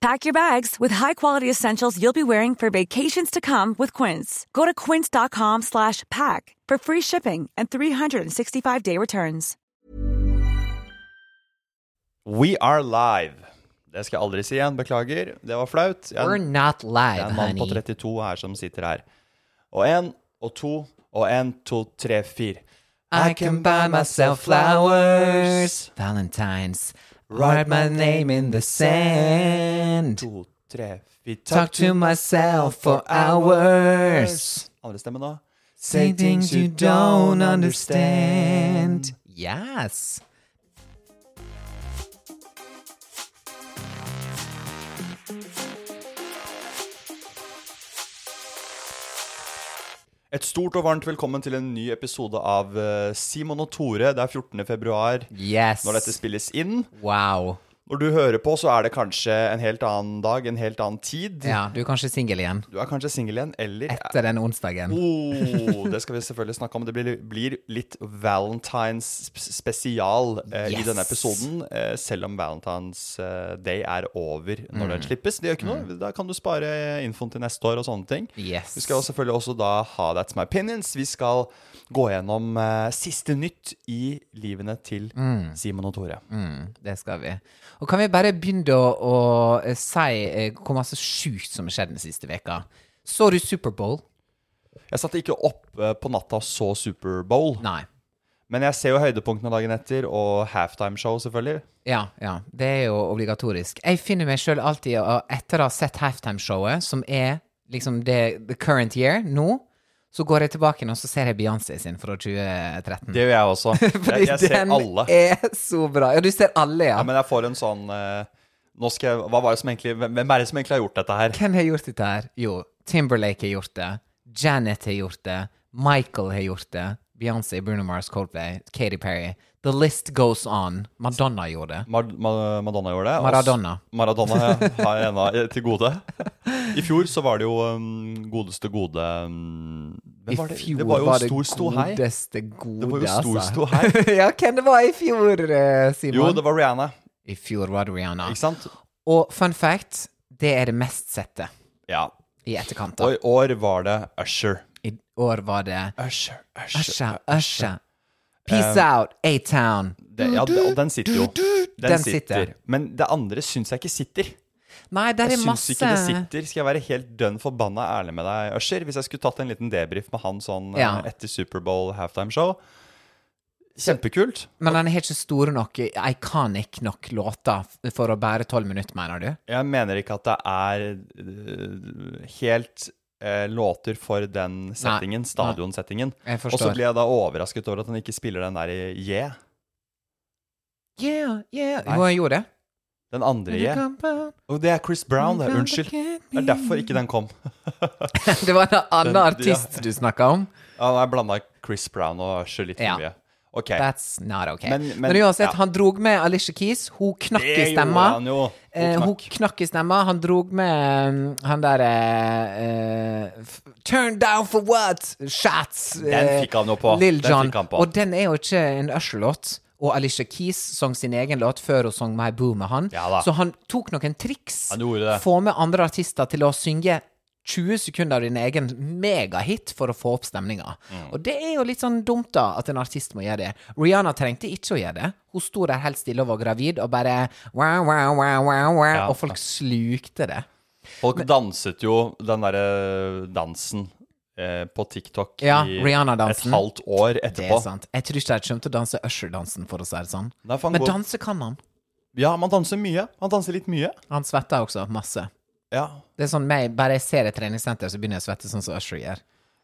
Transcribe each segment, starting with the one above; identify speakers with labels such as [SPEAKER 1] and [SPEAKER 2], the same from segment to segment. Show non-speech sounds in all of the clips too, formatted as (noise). [SPEAKER 1] Pack your bags with high-quality essentials you'll be wearing for vacations to come with Quince. Go to quince.com slash pack for free shipping and 365-day returns.
[SPEAKER 2] We are live. Det skal jeg aldri si igjen. Beklager. Det var flaut. Jeg,
[SPEAKER 3] We're not
[SPEAKER 2] det er
[SPEAKER 3] live,
[SPEAKER 2] en mann på
[SPEAKER 3] honey.
[SPEAKER 2] 32 her som sitter her. Og én og to og én, to, tre, fire.
[SPEAKER 3] I can buy myself flowers, valentines, write my name in the sand,
[SPEAKER 2] To, tre, fire.
[SPEAKER 3] talk to myself for hours,
[SPEAKER 2] Andre stemme nå.
[SPEAKER 3] say things you don't understand. Yes.
[SPEAKER 2] Et stort og varmt velkommen til en ny episode av eh, Simon og Tore. Det er 14. februar
[SPEAKER 3] Yes.
[SPEAKER 2] når dette spilles inn.
[SPEAKER 3] Wow.
[SPEAKER 2] Når du hører på, så er det kanskje en helt annen dag, en helt annen tid.
[SPEAKER 3] Ja, du er kanskje singel igjen
[SPEAKER 2] Du er kanskje singel igjen, eller
[SPEAKER 3] etter den onsdagen.
[SPEAKER 2] Oh, det skal vi selvfølgelig snakke om. Det blir, blir litt Valentine's sp- spesial eh, i
[SPEAKER 3] Yes.
[SPEAKER 2] denne episoden. Eh, selv om Valentine's eh, Day er over når
[SPEAKER 3] Mm.
[SPEAKER 2] den slippes. Det gjør ikke noe. Da kan du spare infoen til neste år og sånne ting.
[SPEAKER 3] Yes.
[SPEAKER 2] Vi skal selvfølgelig også da ha That's My Opinions. Vi skal gå gjennom eh, siste nytt i livene til Simon og Tore.
[SPEAKER 3] Mm, det skal vi. Og kan vi bare begynne å, å eh, si eh, hvor masse sjukt som har skjedd den siste veka? Så du Superbowl?
[SPEAKER 2] Jeg satt ikke opp eh, på natta og så Superbowl,
[SPEAKER 3] Nei.
[SPEAKER 2] men jeg ser jo høydepunktene dagen etter, og halftimeshow, selvfølgelig.
[SPEAKER 3] Ja, ja. Det er jo obligatorisk. Jeg finner meg sjøl alltid, og etter å ha sett halftimeshowet, som er liksom det the current year nå, så går jeg tilbake igjen og så ser jeg Beyoncé sin fra 2013.
[SPEAKER 2] Det gjør jeg (laughs) også. Jeg, jeg ser
[SPEAKER 3] den
[SPEAKER 2] alle.
[SPEAKER 3] er så bra. Ja, du ser alle, ja.
[SPEAKER 2] Ja, men jeg får en sånn eh, nå skal jeg, hva var det som egentlig, Hvem hvem er det som egentlig har gjort dette her?
[SPEAKER 3] Hvem har gjort dette her? Jo, Timberlake har gjort det. Janet har gjort det. Michael har gjort det. Beyoncé, Bruno Mars, Coldplay, Katy Perry. The list goes on. Madonna gjorde det.
[SPEAKER 2] Mar Ma Madonna gjorde det. og s-
[SPEAKER 3] Maradona.
[SPEAKER 2] Maradona ja, (laughs) har jeg ennå eh, til gode. I fjor så var det jo um, godeste gode um, hvem
[SPEAKER 3] I
[SPEAKER 2] var det?
[SPEAKER 3] fjor
[SPEAKER 2] det var jo stor ståhei.
[SPEAKER 3] godeste gode,
[SPEAKER 2] Det var jo stor
[SPEAKER 3] altså.
[SPEAKER 2] ståhei.
[SPEAKER 3] (laughs) ja, hvem det var i fjor, eh, Simon?
[SPEAKER 2] Jo, det var Rihanna,
[SPEAKER 3] I fjor var det Rihanna.
[SPEAKER 2] ikke sant?
[SPEAKER 3] Og fun fact, det er det mest sette
[SPEAKER 2] Ja.
[SPEAKER 3] i etterkant. da.
[SPEAKER 2] Og i år var det Usher.
[SPEAKER 3] I år var det
[SPEAKER 2] Usher, Usher,
[SPEAKER 3] Usha, Usha. Peace
[SPEAKER 2] Eh,
[SPEAKER 3] out, A-Town.
[SPEAKER 2] Det, ja, det- og den sitter jo. Den,
[SPEAKER 3] Den
[SPEAKER 2] sitter.
[SPEAKER 3] sitter.
[SPEAKER 2] Men det andre syns jeg ikke sitter.
[SPEAKER 3] Nei, der
[SPEAKER 2] Jeg
[SPEAKER 3] er
[SPEAKER 2] syns
[SPEAKER 3] masse
[SPEAKER 2] ikke det sitter. Skal jeg være helt dønn forbanna ærlig med deg, Usher? Hvis jeg skulle tatt en liten debrief med han sånn eh,
[SPEAKER 3] Ja.
[SPEAKER 2] etter Superbowl halftimeshow Kjempekult.
[SPEAKER 3] Men den har ikke store nok, iconic nok låter f- for å bære tolv minutter, mener du?
[SPEAKER 2] Jeg mener ikke at det er eh, helt eh, låter for den settingen, stadionsettingen.
[SPEAKER 3] Jeg
[SPEAKER 2] Og så
[SPEAKER 3] forstår.
[SPEAKER 2] blir jeg da overrasket over at han ikke spiller den der i J.
[SPEAKER 3] Yeah, yeah.
[SPEAKER 2] Nei.
[SPEAKER 3] Jo, jeg gjorde det.
[SPEAKER 2] Den andre J. Og det er Chris Brown, det. Unnskyld. Det er derfor ikke den kom.
[SPEAKER 3] (laughs) Det var en annen
[SPEAKER 2] Den-
[SPEAKER 3] artist du snakka om.
[SPEAKER 2] Han er blanda Chris Brown og Usher litt
[SPEAKER 3] Ja.
[SPEAKER 2] for mye. OK.
[SPEAKER 3] That's not okay.
[SPEAKER 2] Men-
[SPEAKER 3] Men,
[SPEAKER 2] men-
[SPEAKER 3] uansett,
[SPEAKER 2] ja.
[SPEAKER 3] han drog med Alicia Keys. Hun knakk i
[SPEAKER 2] Det
[SPEAKER 3] stemma.
[SPEAKER 2] gjorde han jo. Hun
[SPEAKER 3] Eh, hun
[SPEAKER 2] knakk.
[SPEAKER 3] knakk i stemma. Han drog med um, han derre Turn down for what? Shots.
[SPEAKER 2] Den fikk han jo på.
[SPEAKER 3] Lill
[SPEAKER 2] Den
[SPEAKER 3] John.
[SPEAKER 2] fikk han på.
[SPEAKER 3] Og den er jo ikke en Usher-låt. Og Alicia Keys sang sin egen låt før hun sang My Boo med han.
[SPEAKER 2] Ja da.
[SPEAKER 3] Så han tok noen triks.
[SPEAKER 2] Han gjorde det.
[SPEAKER 3] Få med andre artister til å synge 20 sekunder av din egen megahit for å få opp stemninga.
[SPEAKER 2] Mm.
[SPEAKER 3] Og det er jo litt sånn dumt, da, at en artist må gjøre det. Rihanna trengte ikke å gjøre det. Hun sto der helt stille og var gravid, og bare wow, wow, wow, wow, wow,
[SPEAKER 2] Ja.
[SPEAKER 3] Og folk slukte det.
[SPEAKER 2] Folk danset jo den derre dansen eh, på TikTok
[SPEAKER 3] Ja,
[SPEAKER 2] i et
[SPEAKER 3] Rihanna-dansen.
[SPEAKER 2] halvt år
[SPEAKER 3] Det
[SPEAKER 2] etterpå.
[SPEAKER 3] er sant. Jeg tror ikke de kommer til å danse Usher-dansen, for å si det sånn.
[SPEAKER 2] Nei, for han
[SPEAKER 3] Men
[SPEAKER 2] går-
[SPEAKER 3] danse kan han.
[SPEAKER 2] Ja, man danser mye. Man danser litt mye.
[SPEAKER 3] Han svetter også masse.
[SPEAKER 2] Ja.
[SPEAKER 3] Det er sånn meg, Bare jeg ser et treningssenter, så begynner jeg å svette sånn som Usher gjør.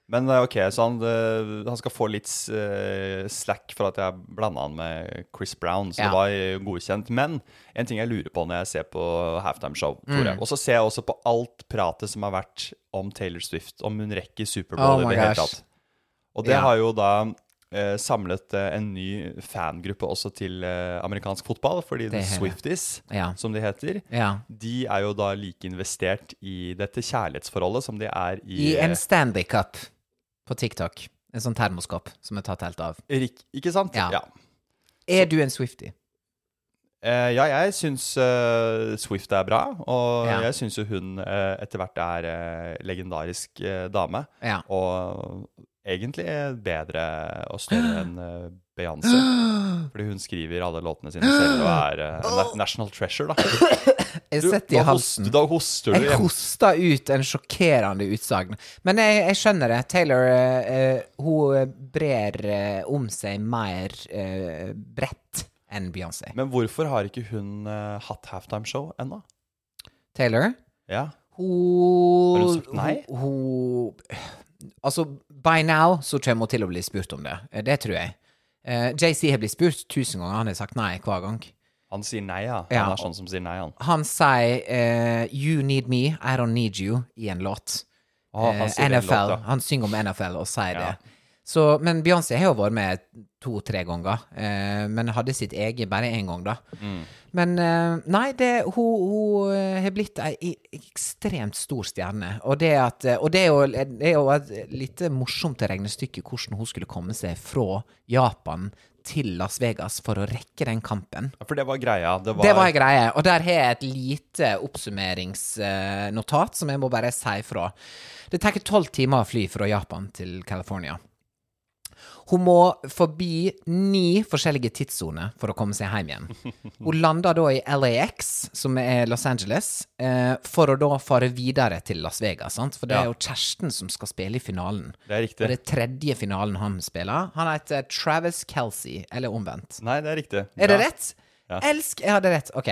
[SPEAKER 2] Men eh, ok, så han, eh, han skal få litt eh, slack for at jeg blanda han med Chris Brown, så
[SPEAKER 3] Ja.
[SPEAKER 2] det var eh, godkjent. Men en ting jeg lurer på når jeg ser på halftimeshow, Tore,
[SPEAKER 3] Mm.
[SPEAKER 2] og så ser jeg også på alt pratet som har vært om Taylor Swift, om hun rekker Superbowl
[SPEAKER 3] Oh
[SPEAKER 2] i
[SPEAKER 3] my
[SPEAKER 2] det hele
[SPEAKER 3] gosh.
[SPEAKER 2] tatt. Og det
[SPEAKER 3] Ja.
[SPEAKER 2] har jo da eh, samlet eh, en ny fangruppe også til eh, amerikansk fotball, fordi
[SPEAKER 3] Det
[SPEAKER 2] The
[SPEAKER 3] er det.
[SPEAKER 2] Swifties,
[SPEAKER 3] Ja.
[SPEAKER 2] som de heter,
[SPEAKER 3] Ja.
[SPEAKER 2] de er jo da like investert i dette kjærlighetsforholdet som de er i, eh,
[SPEAKER 3] I en Stanley Cup på TikTok. En sånn termoskopp som er tatt helt av.
[SPEAKER 2] Rik, Ikke sant?
[SPEAKER 3] Ja.
[SPEAKER 2] ja.
[SPEAKER 3] Er du en Swifty?
[SPEAKER 2] Eh, ja, jeg syns eh, Swift er bra, og
[SPEAKER 3] Ja.
[SPEAKER 2] jeg syns jo hun eh, etter hvert er eh, legendarisk eh, dame. (gasps)
[SPEAKER 3] Ja.
[SPEAKER 2] Og egentlig bedre og
[SPEAKER 3] (gasps)
[SPEAKER 2] større enn eh, Beyoncé. Fordi hun skriver alle låtene sine selv og er
[SPEAKER 3] (gasps)
[SPEAKER 2] eh, en na- national
[SPEAKER 3] (laughs)
[SPEAKER 2] treasure, da.
[SPEAKER 3] Jeg
[SPEAKER 2] Du,
[SPEAKER 3] setter i
[SPEAKER 2] da,
[SPEAKER 3] halsen.
[SPEAKER 2] hoster, da hoster du.
[SPEAKER 3] Jeg
[SPEAKER 2] hjemme.
[SPEAKER 3] hosta ut en sjokkerende utsagn. Men jeg, jeg skjønner det. Taylor eh, eh, hun brer eh, om seg mer eh, bredt enn Beyoncé.
[SPEAKER 2] Men hvorfor har ikke hun eh, hatt halftimeshow ennå?
[SPEAKER 3] Taylor
[SPEAKER 2] Ja.
[SPEAKER 3] hun,
[SPEAKER 2] Har hun sagt nei?
[SPEAKER 3] Hun, hun Altså, by now så kommer hun til å bli spurt om det. Eh, Det tror jeg. Eh, JC har blitt spurt tusen ganger, han har sagt nei hver gang.
[SPEAKER 2] Han sier nei, ja. Han
[SPEAKER 3] Ja.
[SPEAKER 2] er sånn som sier nei, han.
[SPEAKER 3] Han sier eh, 'You need me, I don't need you' i en låt.
[SPEAKER 2] Å, Ah, han
[SPEAKER 3] Eh,
[SPEAKER 2] sier det i en
[SPEAKER 3] NFL.
[SPEAKER 2] låt, ja.
[SPEAKER 3] Han synger om NFL og sier
[SPEAKER 2] Ja.
[SPEAKER 3] det. Så, men Beyoncé har jo vært med to-tre ganger, eh, men hadde sitt eget bare én gang, da.
[SPEAKER 2] Mm.
[SPEAKER 3] Men eh, nei, det, hun, hun eh, har blitt ei i- ekstremt stor stjerne. Og det, at, eh, og det er jo, det er jo et lite morsomt regnestykke hvordan hun skulle komme seg fra Japan til Las Vegas for å rekke den kampen.
[SPEAKER 2] Ja, For det var greia. Det var,
[SPEAKER 3] Det var ei greie. Og der har jeg et lite oppsummeringsnotat som jeg må bare si fra. Det tar tolv timer å fly fra Japan til California. Hun må forbi ni forskjellige tidssoner for å komme seg hjem
[SPEAKER 2] (laughs)
[SPEAKER 3] igjen. Hun lander da i LAX, som er Los Angeles, eh, for å da fare videre til Las Vegas. Sant? For det er jo Kjersten som skal spille i finalen.
[SPEAKER 2] Det er riktig.
[SPEAKER 3] Og det er tredje finalen han spiller. Han heter Travis Kelsey, eller omvendt.
[SPEAKER 2] Nei, det er riktig.
[SPEAKER 3] Er det
[SPEAKER 2] Ja.
[SPEAKER 3] rett? Elsk Jeg hadde rett. Ok.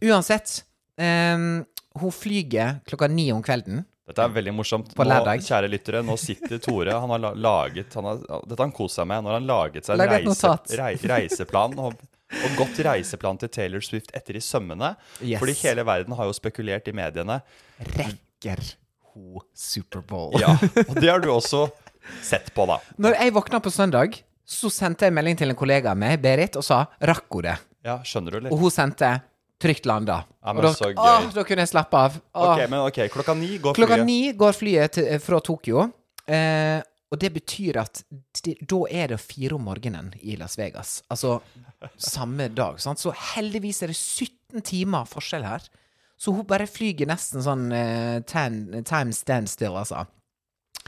[SPEAKER 3] Uansett. ehm, hun flyger klokka ni om kvelden.
[SPEAKER 2] Dette er veldig morsomt.
[SPEAKER 3] På lørdag.
[SPEAKER 2] Nå, kjære lyttere, nå sitter Tore Han har la- laget han har, Dette har han kost seg med. Når han laget seg en
[SPEAKER 3] Lag et
[SPEAKER 2] reise,
[SPEAKER 3] notat.
[SPEAKER 2] rei, reiseplan og, og godt reiseplan til Taylor Swift etter i sømmene.
[SPEAKER 3] Yes.
[SPEAKER 2] Fordi hele verden har jo spekulert i mediene.
[SPEAKER 3] Rekker hun Superbowl?
[SPEAKER 2] Ja, (laughs) Og det har du også sett på, da.
[SPEAKER 3] Når jeg våkna på søndag, så sendte jeg melding til en kollega av meg, Berit, og sa 'rakk hun det?'
[SPEAKER 2] Ja, Skjønner du,
[SPEAKER 3] Og
[SPEAKER 2] eller?
[SPEAKER 3] hun sendte 'trygt landa'.
[SPEAKER 2] Ja, men
[SPEAKER 3] og da,
[SPEAKER 2] så gøy.
[SPEAKER 3] Åh, da kunne jeg slappe av. Åh.
[SPEAKER 2] Ok, men ok, Klokka ni går
[SPEAKER 3] Klokka
[SPEAKER 2] flyet.
[SPEAKER 3] ni går flyet til, fra Tokyo, eh, og det betyr at det, da er det fire om morgenen i Las Vegas. Altså samme dag. Sant? Så heldigvis er det 17 timer forskjell her. Så hun bare flyger nesten sånn eh, time, time stand still, altså.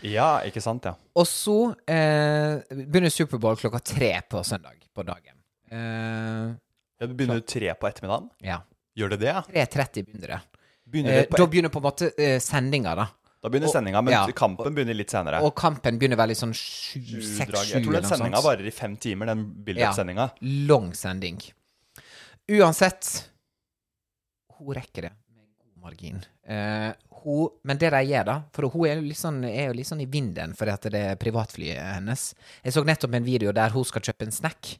[SPEAKER 2] Ja, ikke sant? ja
[SPEAKER 3] Og så eh, begynner Superbowl klokka tre på søndag på dagen. Eh,
[SPEAKER 2] Ja, Du begynner jo tre på ettermiddagen.
[SPEAKER 3] ja.
[SPEAKER 2] Gjør det det? ja?
[SPEAKER 3] 3.30 begynner det.
[SPEAKER 2] Begynner
[SPEAKER 3] Eh,
[SPEAKER 2] det på
[SPEAKER 3] da
[SPEAKER 2] et,
[SPEAKER 3] begynner på en måte eh, sendinga, da.
[SPEAKER 2] da begynner
[SPEAKER 3] og-
[SPEAKER 2] sendinga, men
[SPEAKER 3] ja.
[SPEAKER 2] kampen begynner litt senere.
[SPEAKER 3] Og kampen begynner veldig sånn sju,
[SPEAKER 2] Sju drag.
[SPEAKER 3] seks, sju
[SPEAKER 2] Jeg tror
[SPEAKER 3] eller
[SPEAKER 2] den
[SPEAKER 3] noe
[SPEAKER 2] sendinga
[SPEAKER 3] sånt.
[SPEAKER 2] varer i fem timer, den bildet-sendinga.
[SPEAKER 3] Lang sending. Uansett Hun rekker det med god margin. Eh, hun, men det de gjør, da For hun er jo litt sånn, er jo litt sånn i vinden fordi at det er privatflyet hennes. Jeg så nettopp en video der hun skal kjøpe en snack.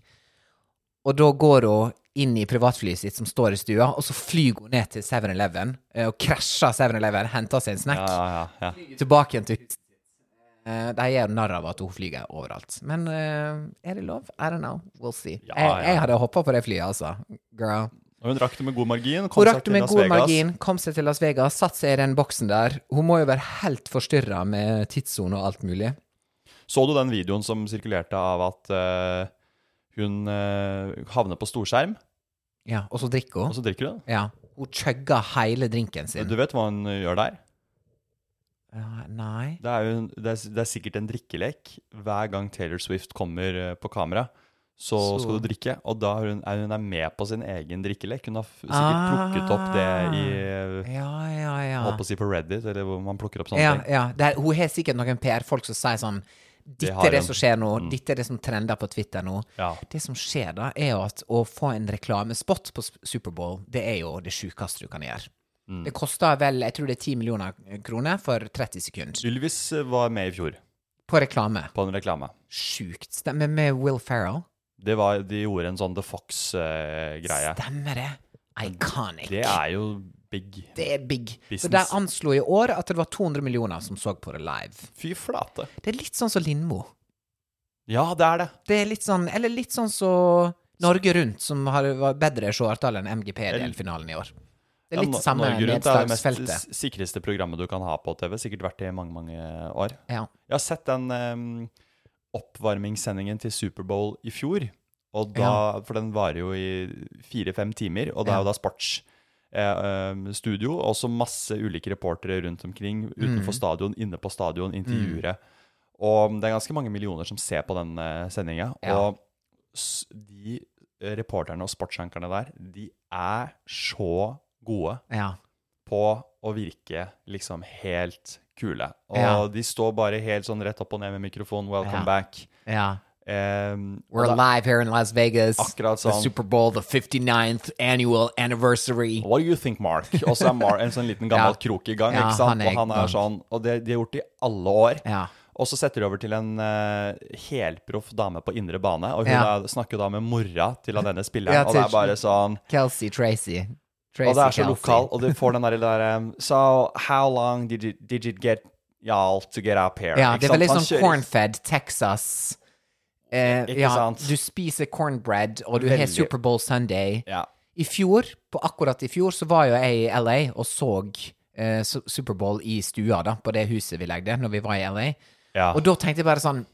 [SPEAKER 3] Og da går hun inn i privatflyet sitt som står i stua, og så flyr hun ned til 7-Eleven eh, og krasjer 7-Eleven, henter seg en snack
[SPEAKER 2] Ja, ja, ja, ja.
[SPEAKER 3] tilbake igjen til huset. Eh, De gjør narr av at hun flyger overalt. Men eh, er det lov? I don't know. We'll see.
[SPEAKER 2] Ja,
[SPEAKER 3] jeg,
[SPEAKER 2] ja.
[SPEAKER 3] jeg hadde hoppa på det flyet, altså. Girl.
[SPEAKER 2] Og hun rakk det med god margin. Kom
[SPEAKER 3] Hun
[SPEAKER 2] seg
[SPEAKER 3] rakk det
[SPEAKER 2] til
[SPEAKER 3] med
[SPEAKER 2] Las
[SPEAKER 3] god
[SPEAKER 2] Vegas.
[SPEAKER 3] margin, kom seg til Las Vegas, satt seg i den boksen der. Hun må jo være helt forstyrra med tidssone og alt mulig.
[SPEAKER 2] Så du den videoen som sirkulerte av at eh, hun eh, havner på storskjerm,
[SPEAKER 3] Ja, Og så drikker
[SPEAKER 2] og
[SPEAKER 3] hun.
[SPEAKER 2] så drikker hun?
[SPEAKER 3] Ja. Hun chugga hele drinken sin.
[SPEAKER 2] Du vet hva hun eh, gjør der?
[SPEAKER 3] Ja, Nei
[SPEAKER 2] Det er, jo, en- det, er, det er sikkert en drikkelek. Hver gang Taylor Swift kommer eh, på kamera, så,
[SPEAKER 3] Så-
[SPEAKER 2] skal du drikke. Og da er hun, er hun er med på sin egen drikkelek. Hun har f- sikkert
[SPEAKER 3] Ah.
[SPEAKER 2] plukket opp det i eh,
[SPEAKER 3] Ja, ja, ja.
[SPEAKER 2] Holdt på å si på Reddit, eller hvor man plukker opp sånne
[SPEAKER 3] Ja,
[SPEAKER 2] ting.
[SPEAKER 3] ja. Det er, hun har sikkert noen PR-folk som sier sånn Dette
[SPEAKER 2] har
[SPEAKER 3] er det
[SPEAKER 2] hun. Mm.
[SPEAKER 3] som skjer nå. Dette er det som trender på Twitter nå.
[SPEAKER 2] Ja.
[SPEAKER 3] Det som skjer da, er jo at å få en reklamespot på Sp- Superbowl, det er jo det sjukeste du kan gjøre.
[SPEAKER 2] Mm.
[SPEAKER 3] Det koster vel jeg tror det er 10 millioner kroner for 30 sekunder.
[SPEAKER 2] Ylvis eh, var med i fjor
[SPEAKER 3] På reklame.
[SPEAKER 2] på en reklame.
[SPEAKER 3] Sjukt. Stemmer med Will Ferrell.
[SPEAKER 2] Det var, de gjorde en sånn The Fox-greie.
[SPEAKER 3] Stemmer det? Iconic.
[SPEAKER 2] det er jo big.
[SPEAKER 3] Det er big. Så
[SPEAKER 2] Business.
[SPEAKER 3] der anslo i år at det var 200 millioner som så på det live.
[SPEAKER 2] Fy flate.
[SPEAKER 3] Det er litt sånn som Lindmo.
[SPEAKER 2] Ja, det er det.
[SPEAKER 3] Det er litt sånn Eller litt sånn så Norge Rundt, som har var bedre seertall enn MGP-delfinalen i år. Det er
[SPEAKER 2] Ja,
[SPEAKER 3] litt
[SPEAKER 2] Nor-
[SPEAKER 3] samme
[SPEAKER 2] Norge Rundt er det mest
[SPEAKER 3] nedslagsfeltet.
[SPEAKER 2] s- sikreste programmet du kan ha på TV. Sikkert vært det i mange, mange år.
[SPEAKER 3] Ja.
[SPEAKER 2] Jeg har sett den em, oppvarmingssendingen til Superbowl i fjor. Og da, For den varer jo i fire-fem timer, og det er jo da sportsstudio. og også masse ulike reportere rundt omkring, utenfor stadion, inne på stadion, intervjuere. Og det er ganske mange millioner som ser på den sendinga.
[SPEAKER 3] Ja.
[SPEAKER 2] Og s- de eh, reporterne og sportsankerne der, de er så gode
[SPEAKER 3] ja.
[SPEAKER 2] på å virke liksom helt kule. Og
[SPEAKER 3] Ja.
[SPEAKER 2] de står bare helt sånn rett opp og ned med mikrofonen. Welcome
[SPEAKER 3] Ja.
[SPEAKER 2] back.
[SPEAKER 3] ja.
[SPEAKER 2] Em,
[SPEAKER 3] We're
[SPEAKER 2] og da-
[SPEAKER 3] live here in Las Vegas.
[SPEAKER 2] Akkurat sånn.
[SPEAKER 3] The Super Bowl, the 59th annual anniversary.
[SPEAKER 2] What do you think, Mark?
[SPEAKER 3] (laughs)
[SPEAKER 2] Og så er Mark en sånn liten gammel
[SPEAKER 3] Ja.
[SPEAKER 2] krok i gang.
[SPEAKER 3] Ja,
[SPEAKER 2] ikke sant?
[SPEAKER 3] han er
[SPEAKER 2] og han er sånn, og det de har gjort det i alle år.
[SPEAKER 3] Ja.
[SPEAKER 2] Og så setter de over til en eh, helproff dame på indre bane, og hun
[SPEAKER 3] Ja.
[SPEAKER 2] da, snakker da med mora til han denne spilleren,
[SPEAKER 3] Ja,
[SPEAKER 2] og det er
[SPEAKER 3] til-
[SPEAKER 2] bare sånn
[SPEAKER 3] Kelsey Tracy. Tracy
[SPEAKER 2] Og det er så
[SPEAKER 3] Kelce.
[SPEAKER 2] lokal, og du får den der, der um, So, how long did you, did you get y'all to get up here?
[SPEAKER 3] Ja,
[SPEAKER 2] Ikke
[SPEAKER 3] det er
[SPEAKER 2] sant?
[SPEAKER 3] veldig
[SPEAKER 2] Han
[SPEAKER 3] sånn
[SPEAKER 2] kjører-
[SPEAKER 3] cornfed Texas. Eh,
[SPEAKER 2] Ikke
[SPEAKER 3] ja,
[SPEAKER 2] sant?
[SPEAKER 3] Du spiser cornbread, og du har
[SPEAKER 2] Veldig.
[SPEAKER 3] Superbowl Sunday.
[SPEAKER 2] Ja.
[SPEAKER 3] I fjor, på akkurat i fjor, så var jo jeg i LA og så eh, Su- Superbowl i stua, da, på det huset vi legde, når vi var i LA.
[SPEAKER 2] Ja.
[SPEAKER 3] Og da tenkte jeg bare sånn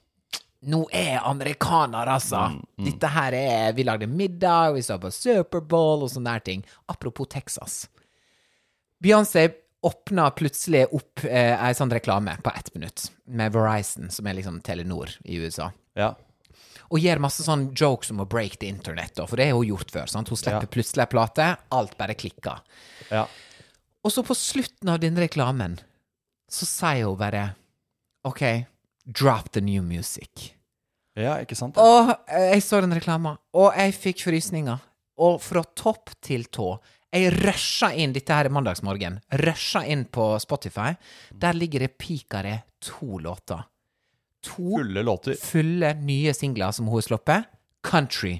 [SPEAKER 3] Nå er jeg amerikaner, altså! Dette her er Vi lagde middag, vi så på Superbowl og sånne her ting. Apropos Texas. Beyoncé åpna plutselig opp eh, ei sånn reklame på ett minutt med Verizon, som er liksom Telenor i USA.
[SPEAKER 2] ja.
[SPEAKER 3] Og gjør masse sånn jokes om å break the internet, da, for det har hun gjort før. sant? Hun slipper plutselig ei plate, alt bare klikker.
[SPEAKER 2] Ja.
[SPEAKER 3] Og så på slutten av den reklamen, så sier hun bare OK, drop the new music.
[SPEAKER 2] ja, ikke sant?
[SPEAKER 3] Og eh, jeg så den reklama, og jeg fikk frysninger. Og fra topp til tå. Jeg rusha inn dette her er mandagsmorgen. Rusha inn på Spotify. Der ligger det pikare to låter. To
[SPEAKER 2] Fulle låter.
[SPEAKER 3] fulle nye singler som hun har sluppet. Country.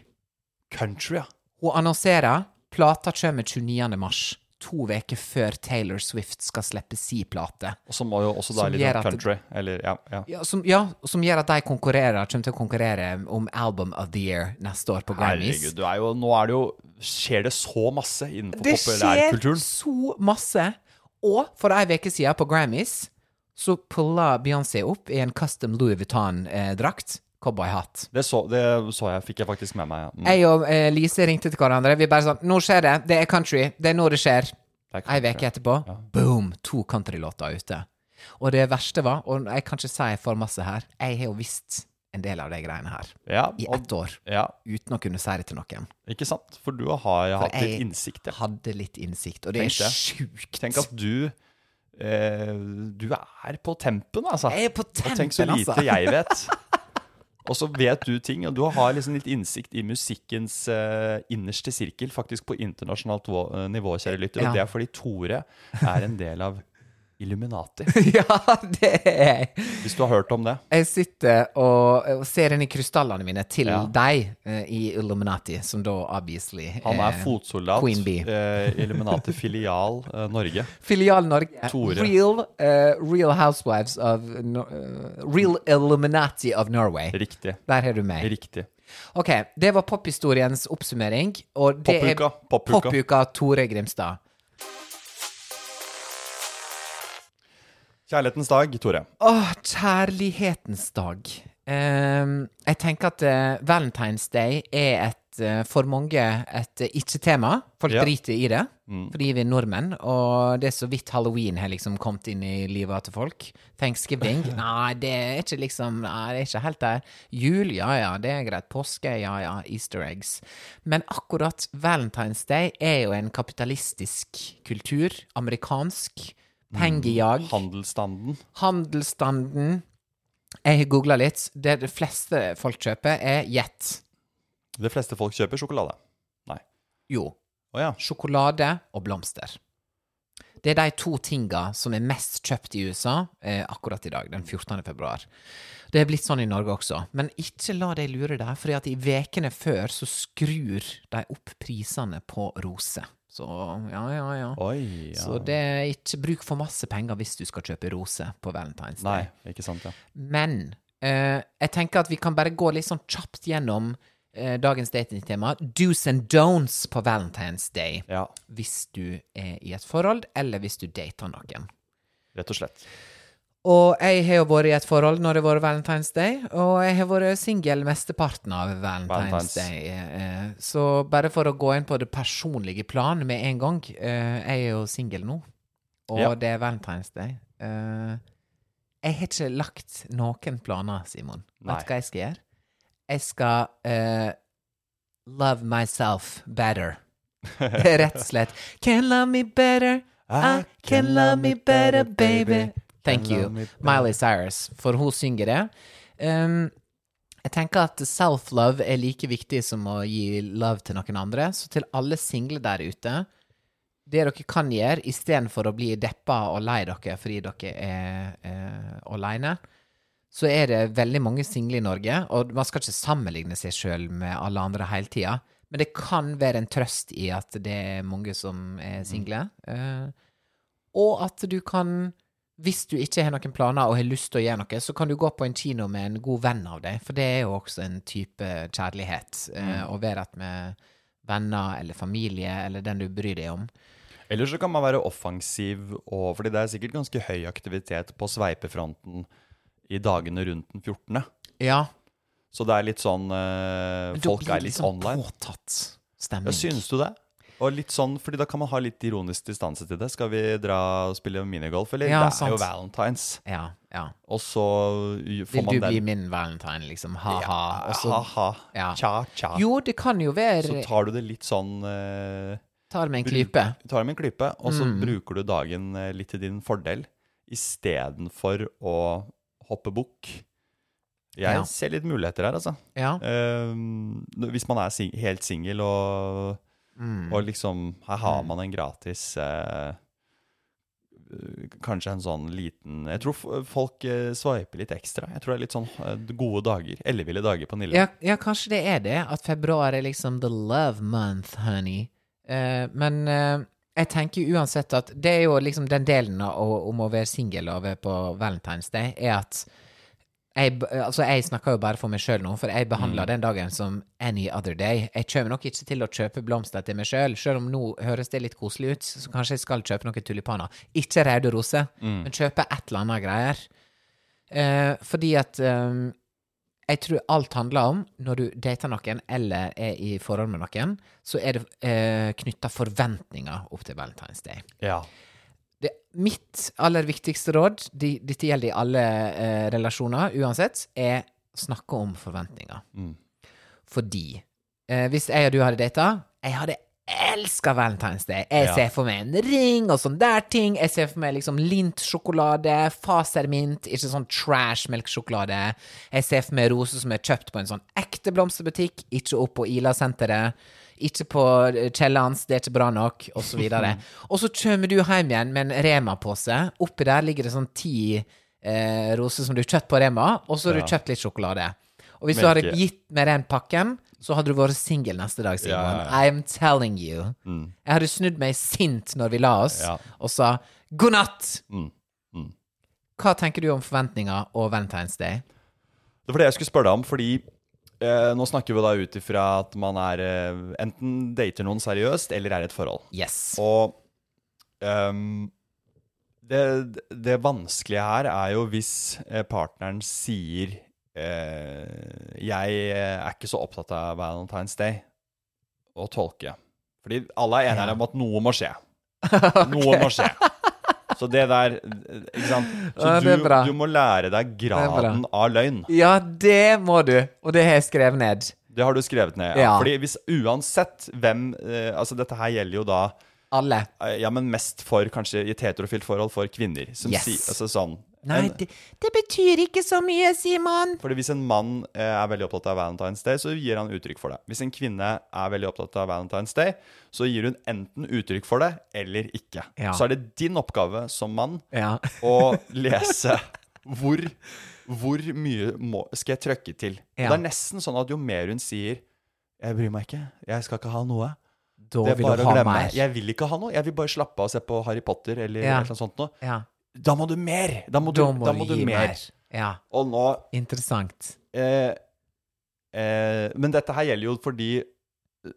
[SPEAKER 2] Country, ja.
[SPEAKER 3] Hun annonserer plata kommer 29. mars. To uker før Taylor Swift skal slippe si plate.
[SPEAKER 2] Og så må jo også da
[SPEAKER 3] Som
[SPEAKER 2] litt
[SPEAKER 3] gjør
[SPEAKER 2] sånn
[SPEAKER 3] at-
[SPEAKER 2] country. Eller, ja, ja.
[SPEAKER 3] Ja, som, ja, som gjør at de konkurrerer, kommer til å konkurrere om Album of the Year neste år på Grammys.
[SPEAKER 2] Herregud, du er jo, nå er det jo Skjer det så masse innenfor
[SPEAKER 3] Det skjer
[SPEAKER 2] populærkulturen?
[SPEAKER 3] så masse. Og for ei uke siden, på Grammys, så pulla Beyoncé opp i en custom Louis eh, Vuitton-drakt. Cowboyhatt.
[SPEAKER 2] Det så, det så jeg, fikk jeg faktisk med meg. Ja. Mm.
[SPEAKER 3] Jeg og eh, Lise ringte til hverandre. Vi bare sånn Nå skjer det. Det er country. Det er nå det skjer.
[SPEAKER 2] Det er
[SPEAKER 3] Ei
[SPEAKER 2] country.
[SPEAKER 3] uke etterpå, boom, to countrylåter ute. Og det verste var, og jeg kan ikke si for masse her, jeg har jo visst en del av de greiene her
[SPEAKER 2] Ja,
[SPEAKER 3] i
[SPEAKER 2] og,
[SPEAKER 3] ett år
[SPEAKER 2] ja,
[SPEAKER 3] uten å kunne si det til noen.
[SPEAKER 2] ikke sant? For du har hatt
[SPEAKER 3] jeg-
[SPEAKER 2] litt innsikt. Ja.
[SPEAKER 3] Hadde litt innsikt, og det er
[SPEAKER 2] Tenkte.
[SPEAKER 3] sjukt.
[SPEAKER 2] Tenk at du eh, Du er på tempen, altså.
[SPEAKER 3] Jeg er på tempen,
[SPEAKER 2] og tenk så lite
[SPEAKER 3] altså.
[SPEAKER 2] jeg vet. Og så vet du ting, og du har liksom litt innsikt i musikkens eh, innerste sirkel, faktisk på internasjonalt vå- eh, nivå, kjære lytter.
[SPEAKER 3] Ja.
[SPEAKER 2] Og det er fordi Tore er en del av Illuminati,
[SPEAKER 3] (laughs) Ja, det er jeg.
[SPEAKER 2] hvis du har hørt om det.
[SPEAKER 3] Jeg sitter og, og ser inn i krystallene mine til
[SPEAKER 2] Ja.
[SPEAKER 3] deg eh, i Illuminati, som da obviously
[SPEAKER 2] Han er
[SPEAKER 3] eh,
[SPEAKER 2] fotsoldat.
[SPEAKER 3] Queen Bee.
[SPEAKER 2] Eh, Illuminati filial eh, Norge.
[SPEAKER 3] Filial Norge.
[SPEAKER 2] Tore.
[SPEAKER 3] Real, eh, real Housewives of Nor- eh, Real Illuminati of Norway.
[SPEAKER 2] Riktig.
[SPEAKER 3] Der har du meg.
[SPEAKER 2] Riktig.
[SPEAKER 3] Ok, det var pophistoriens oppsummering. Og det er
[SPEAKER 2] Poppuka. Poppuka.
[SPEAKER 3] Poppuka Tore Grimstad.
[SPEAKER 2] Kjærlighetens dag, Tore.
[SPEAKER 3] Åh, kjærlighetens dag. Ehm, jeg tenker at eh, Valentine's Day er et, eh, for mange et eh, ikke-tema. Folk
[SPEAKER 2] Ja.
[SPEAKER 3] driter i det, fordi vi er nordmenn, og det er så vidt halloween har liksom kommet inn i livet til folk. Thanksgiving, nei, det er ikke liksom, nei, det er ikke helt der. Jul, ja ja, det er greit. Påske, ja ja, easter eggs. Men akkurat Valentine's Day er jo en kapitalistisk kultur, amerikansk, pengejag
[SPEAKER 2] Handelsstanden.
[SPEAKER 3] handelsstanden Jeg har googla litt. Det de fleste folk kjøper, er gjett.
[SPEAKER 2] De fleste folk kjøper sjokolade. Nei.
[SPEAKER 3] Jo,
[SPEAKER 2] Å ja.
[SPEAKER 3] sjokolade og blomster. Det er de to tinga som er mest kjøpt i USA eh, akkurat i dag, den 14. februar. Det er blitt sånn i Norge også, men ikke la deg lure der, for i vekene før så skrur de opp prisene på roser. Så ja, ja, ja.
[SPEAKER 2] Oi, ja.
[SPEAKER 3] Så det er ikke bruk for masse penger hvis du skal kjøpe roser på Valentine's Day.
[SPEAKER 2] Nei, ikke sant, ja.
[SPEAKER 3] Men eh, Eh, jeg tenker at vi kan bare gå litt sånn kjapt gjennom eh, dagens datingtema. Do's and don'ts på Valentine's Day.
[SPEAKER 2] Ja,
[SPEAKER 3] Hvis du er i et forhold, eller hvis du dater noen.
[SPEAKER 2] rett og slett.
[SPEAKER 3] Og jeg har jo vært i et forhold når det har vært Valentine's Day, og jeg har vært singel mesteparten av Valentine's,
[SPEAKER 2] Valentine's.
[SPEAKER 3] Day. eh, Så bare for å gå inn på det personlige plan med en gang eh, Jeg er jo singel nå, og
[SPEAKER 2] Ja.
[SPEAKER 3] det er Valentine's Day. Eh, Jeg har ikke lagt noen planer, Simon.
[SPEAKER 2] Nei.
[SPEAKER 3] Vet du hva jeg skal gjøre? Jeg skal eh, love myself (laughs) better. Rett og slett. Can love me better. I can love me better, baby. Thank
[SPEAKER 2] Can love
[SPEAKER 3] you.
[SPEAKER 2] me better.
[SPEAKER 3] Miley Cyrus, for hun synger det. Um, jeg tenker at self-love er like viktig som å gi love til noen andre. Så til alle single der ute, det dere kan gjøre istedenfor å bli deppa og lei dere fordi dere er eh, aleine, så er det veldig mange single i Norge, og man skal ikke sammenligne seg sjøl med alle andre hele tida. Men det kan være en trøst i at det er mange som er single. eh, og at du kan, hvis du ikke har noen planer og har lyst til å gjøre noe, så kan du gå på en kino med en god venn av deg, for det er jo også en type kjærlighet. eh, Å være at med venner eller familie eller den du bryr deg om.
[SPEAKER 2] Eller så kan man være offensiv, og, fordi det er sikkert ganske høy aktivitet på sveipefronten i dagene rundt den 14.
[SPEAKER 3] Ja.
[SPEAKER 2] Så det er litt sånn eh,
[SPEAKER 3] men da
[SPEAKER 2] Folk
[SPEAKER 3] blir det
[SPEAKER 2] er litt
[SPEAKER 3] sånn
[SPEAKER 2] online.
[SPEAKER 3] Påtatt stemning.
[SPEAKER 2] Ja, synes du det? Og litt sånn, fordi da kan man ha litt ironisk distanse til det. Skal vi dra og spille minigolf, eller?
[SPEAKER 3] Ja,
[SPEAKER 2] det er
[SPEAKER 3] sant.
[SPEAKER 2] jo valentines.
[SPEAKER 3] Ja, ja.
[SPEAKER 2] Og så får
[SPEAKER 3] Vil
[SPEAKER 2] man
[SPEAKER 3] du bli
[SPEAKER 2] den
[SPEAKER 3] min valentine, liksom? Ha-ha. og så-
[SPEAKER 2] ha-ha,
[SPEAKER 3] Ja.
[SPEAKER 2] tja-tja.
[SPEAKER 3] Jo, det kan jo
[SPEAKER 2] Så
[SPEAKER 3] være
[SPEAKER 2] tar du det litt sånn eh,
[SPEAKER 3] Tar med en
[SPEAKER 2] bruk-
[SPEAKER 3] klype.
[SPEAKER 2] Tar det med en klype, og så
[SPEAKER 3] Mm.
[SPEAKER 2] bruker du dagen eh, litt til din fordel istedenfor å hoppe bukk. Jeg
[SPEAKER 3] Ja.
[SPEAKER 2] ser litt muligheter her, altså.
[SPEAKER 3] Ja.
[SPEAKER 2] Eh, hvis man er sing helt singel og,
[SPEAKER 3] Mm.
[SPEAKER 2] og liksom Her har man en gratis eh, Kanskje en sånn liten Jeg tror f- folk eh, sveiper litt ekstra. Jeg tror det er litt sånn eh, gode dager. Elleville dager på Nille.
[SPEAKER 3] Ja, ja, kanskje det er det. At februar er liksom the love month, honey. Eh, men eh, jeg tenker uansett at det er jo liksom den delen av, å- om å være singel og være på Valentine's Day, er at jeg, b- altså jeg snakker jo bare for meg sjøl nå, for jeg behandler den dagen som any other day. Jeg kommer nok ikke til å kjøpe blomster til meg sjøl, sjøl om nå høres det litt koselig ut, så kanskje jeg skal kjøpe noen tulipaner. Ikke røde roser, men kjøpe et eller annet greier. Eh, fordi at eh, jeg tror alt handler om, når du dater noen eller er i forhold med noen, så er det eh, knytta forventninger opp til Valentine's Day.
[SPEAKER 2] Ja.
[SPEAKER 3] Det, mitt aller viktigste råd, de, dette gjelder i alle eh, relasjoner uansett, er snakke om forventninger.
[SPEAKER 2] Mm.
[SPEAKER 3] Fordi eh, hvis jeg og du hadde data, jeg hadde elska Valentine's Day. Jeg
[SPEAKER 2] Ja.
[SPEAKER 3] ser for meg en ring og sånn der ting. Jeg ser for meg liksom lintsjokolade, fasermint, ikke sånn trash melkesjokolade. Jeg ser for meg roser som er kjøpt på en sånn ekte blomsterbutikk, ikke opp på Ila-senteret. Ikke på eh, kjelleren hans, det er ikke bra nok, og så videre.
[SPEAKER 2] (laughs)
[SPEAKER 3] og så kommer du hjem igjen med en Rema-pose. Oppi der ligger det sånn ti eh, roser som du har kjøpt på Rema, og så har du kjøpt litt sjokolade. Og hvis du hadde
[SPEAKER 2] Melke.
[SPEAKER 3] gitt meg den pakken, så hadde du vært singel neste dag,
[SPEAKER 2] Ja,
[SPEAKER 3] Simon.
[SPEAKER 2] ja,
[SPEAKER 3] I'm telling you. Jeg hadde snudd meg sint når vi la oss,
[SPEAKER 2] Ja.
[SPEAKER 3] og sa god natt!
[SPEAKER 2] Mm. Mm.
[SPEAKER 3] Hva tenker du om forventninger og Valentine's Day?
[SPEAKER 2] Det var det jeg skulle spørre deg om, fordi eh, nå snakker vi da ut ifra at man er eh, enten dater noen seriøst, eller er i et forhold.
[SPEAKER 3] Yes.
[SPEAKER 2] Og ehm, det, det vanskelige her er jo hvis eh, partneren sier eh, Jeg er ikke så opptatt av Valentine's Day, å tolke. Fordi alle er enige her om at noe må
[SPEAKER 3] (laughs)
[SPEAKER 2] skje. Noe må skje. Så det der Ikke sant. Så
[SPEAKER 3] Ja, det er
[SPEAKER 2] du,
[SPEAKER 3] bra.
[SPEAKER 2] du må lære deg
[SPEAKER 3] bra.
[SPEAKER 2] graden av løgn.
[SPEAKER 3] Ja, det må du, og det har jeg skrevet ned.
[SPEAKER 2] Det har du skrevet ned. Ja.
[SPEAKER 3] Ja.
[SPEAKER 2] Fordi hvis uansett hvem eh, Altså, dette her gjelder jo da
[SPEAKER 3] Alle.
[SPEAKER 2] Eh, Ja, men mest for kanskje i et heterofilt forhold for kvinner. Som
[SPEAKER 3] Yes.
[SPEAKER 2] sier, altså sånn
[SPEAKER 3] Nei,
[SPEAKER 2] en,
[SPEAKER 3] det, det betyr ikke så mye, Simon.
[SPEAKER 2] Fordi Hvis en mann eh, er veldig opptatt av Valentine's Day, så gir han uttrykk for det. Hvis en kvinne er veldig opptatt av Valentine's Day, så gir hun enten uttrykk for det eller ikke.
[SPEAKER 3] Ja.
[SPEAKER 2] Så er det din oppgave som mann
[SPEAKER 3] Ja.
[SPEAKER 2] å
[SPEAKER 3] (laughs)
[SPEAKER 2] lese hvor, hvor mye må, skal jeg trøkke til.
[SPEAKER 3] Ja.
[SPEAKER 2] Og Det er nesten sånn at jo mer hun sier 'Jeg bryr meg ikke. Jeg skal ikke ha noe',
[SPEAKER 3] Da
[SPEAKER 2] det er
[SPEAKER 3] vil
[SPEAKER 2] bare
[SPEAKER 3] du
[SPEAKER 2] å
[SPEAKER 3] ha
[SPEAKER 2] glemme.
[SPEAKER 3] mer.
[SPEAKER 2] Jeg vil ikke ha noe. Jeg vil bare slappe av og se på Harry Potter eller
[SPEAKER 3] Ja.
[SPEAKER 2] et eller annet sånt noe.
[SPEAKER 3] Ja.
[SPEAKER 2] Da må du mer! Da må du,
[SPEAKER 3] Da må
[SPEAKER 2] da
[SPEAKER 3] du
[SPEAKER 2] må du
[SPEAKER 3] gi
[SPEAKER 2] mer.
[SPEAKER 3] mer. Ja,
[SPEAKER 2] Og nå
[SPEAKER 3] interessant.
[SPEAKER 2] eh, eh, Men dette her gjelder jo for de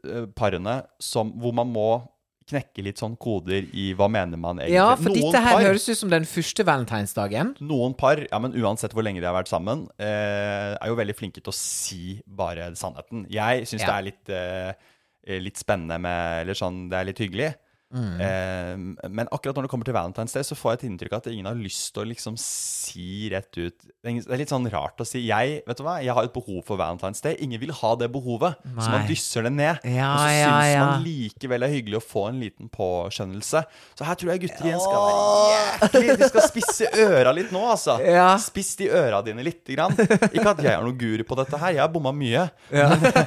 [SPEAKER 2] eh, parene som, hvor man må knekke litt sånn koder i hva mener man egentlig.
[SPEAKER 3] Ja, for dette her
[SPEAKER 2] par,
[SPEAKER 3] høres ut som den første valentinsdagen.
[SPEAKER 2] noen par, ja, men uansett hvor lenge de har vært sammen, eh, er jo veldig flinke til å si bare sannheten. Jeg syns det
[SPEAKER 3] Ja.
[SPEAKER 2] er litt, eh, litt spennende med Eller sånn, det er litt hyggelig.
[SPEAKER 3] Mm.
[SPEAKER 2] Eh, men akkurat når det kommer til Valentine's Day, så får jeg et inntrykk av at ingen har lyst til å liksom si rett ut Det er ingen- det er litt sånn rart å si jeg, vet du hva, jeg har et behov for Valentine's Day. Ingen vil ha det behovet, så man
[SPEAKER 3] Nei.
[SPEAKER 2] dysser det ned.
[SPEAKER 3] Ja,
[SPEAKER 2] og så
[SPEAKER 3] ja,
[SPEAKER 2] syns
[SPEAKER 3] ja.
[SPEAKER 2] man likevel det er hyggelig å få en liten påskjønnelse. Så her tror jeg gutter igjen skal være jæklig De skal spisse øra litt nå, altså.
[SPEAKER 3] Ja.
[SPEAKER 2] Spiss de øra dine lite grann. Ikke at jeg er noen guru på dette her, jeg har bomma mye.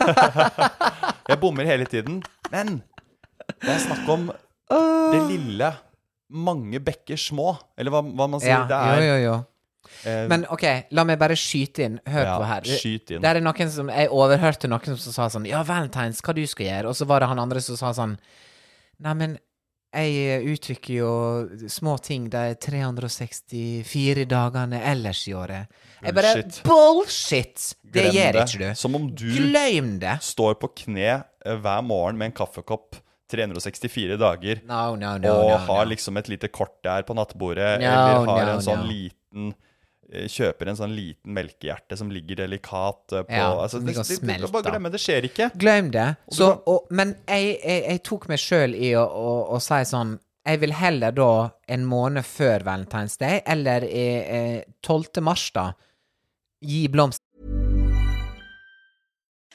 [SPEAKER 2] (laughs) jeg bommer hele tiden. Men det er snakk om det lille. Mange bekker små, eller hva, hva man sier.
[SPEAKER 3] Ja,
[SPEAKER 2] det er
[SPEAKER 3] jo, jo, jo.
[SPEAKER 2] eh,
[SPEAKER 3] Men OK, la meg bare skyte inn. Hør
[SPEAKER 2] Ja,
[SPEAKER 3] på her.
[SPEAKER 2] skyt inn.
[SPEAKER 3] Der er noen som, Jeg overhørte noen som sa sånn Ja, Valentine's, hva du skal gjøre? Og så var det han andre som sa sånn Neimen, jeg eh, uttrykker jo små ting de 364 dagene ellers i året. Jeg bare
[SPEAKER 2] Bullshit.
[SPEAKER 3] Bullshit! Det
[SPEAKER 2] glem
[SPEAKER 3] gjør ikke du.
[SPEAKER 2] Som om du
[SPEAKER 3] Glem det.
[SPEAKER 2] står på kne eh, hver morgen med en kaffekopp 364 dager
[SPEAKER 3] No, no, no.
[SPEAKER 2] og
[SPEAKER 3] no,
[SPEAKER 2] har
[SPEAKER 3] no.
[SPEAKER 2] liksom et lite kort der på nattbordet,
[SPEAKER 3] No,
[SPEAKER 2] eller har
[SPEAKER 3] no,
[SPEAKER 2] en sånn
[SPEAKER 3] no.
[SPEAKER 2] liten eh, Kjøper en sånn liten melkehjerte som ligger delikat eh, på
[SPEAKER 3] Ja,
[SPEAKER 2] altså,
[SPEAKER 3] som
[SPEAKER 2] det,
[SPEAKER 3] ligger og
[SPEAKER 2] det, det,
[SPEAKER 3] smelter.
[SPEAKER 2] Bare glemme, det skjer ikke.
[SPEAKER 3] Glem det.
[SPEAKER 2] du
[SPEAKER 3] Så,
[SPEAKER 2] kan-
[SPEAKER 3] og, men jeg, jeg, jeg tok meg sjøl i å, å, å si sånn Jeg vil heller da en måned før Valentine's Day, eller i, eh, 12. mars, da, gi blomster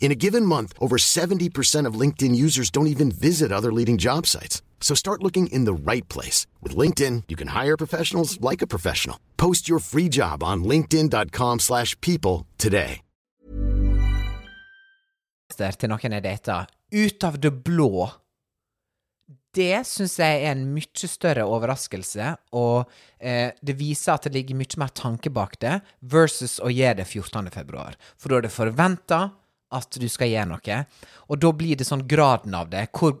[SPEAKER 4] In a given month, over 70% of LinkedIn users don't even visit other leading job sites. So start looking in the right place. With LinkedIn, you can hire professionals like a professional. Post your free job on linkedin.com/people slash people today.
[SPEAKER 3] til noen jeg dater, ut av det blå. Det syns jeg er en mye større overraskelse, og eh, det viser at det ligger mye mer tanke bak det, versus å gjøre det 14. februar. For da er det forventa at du skal gjøre noe, og da blir det sånn graden av det. Hvor,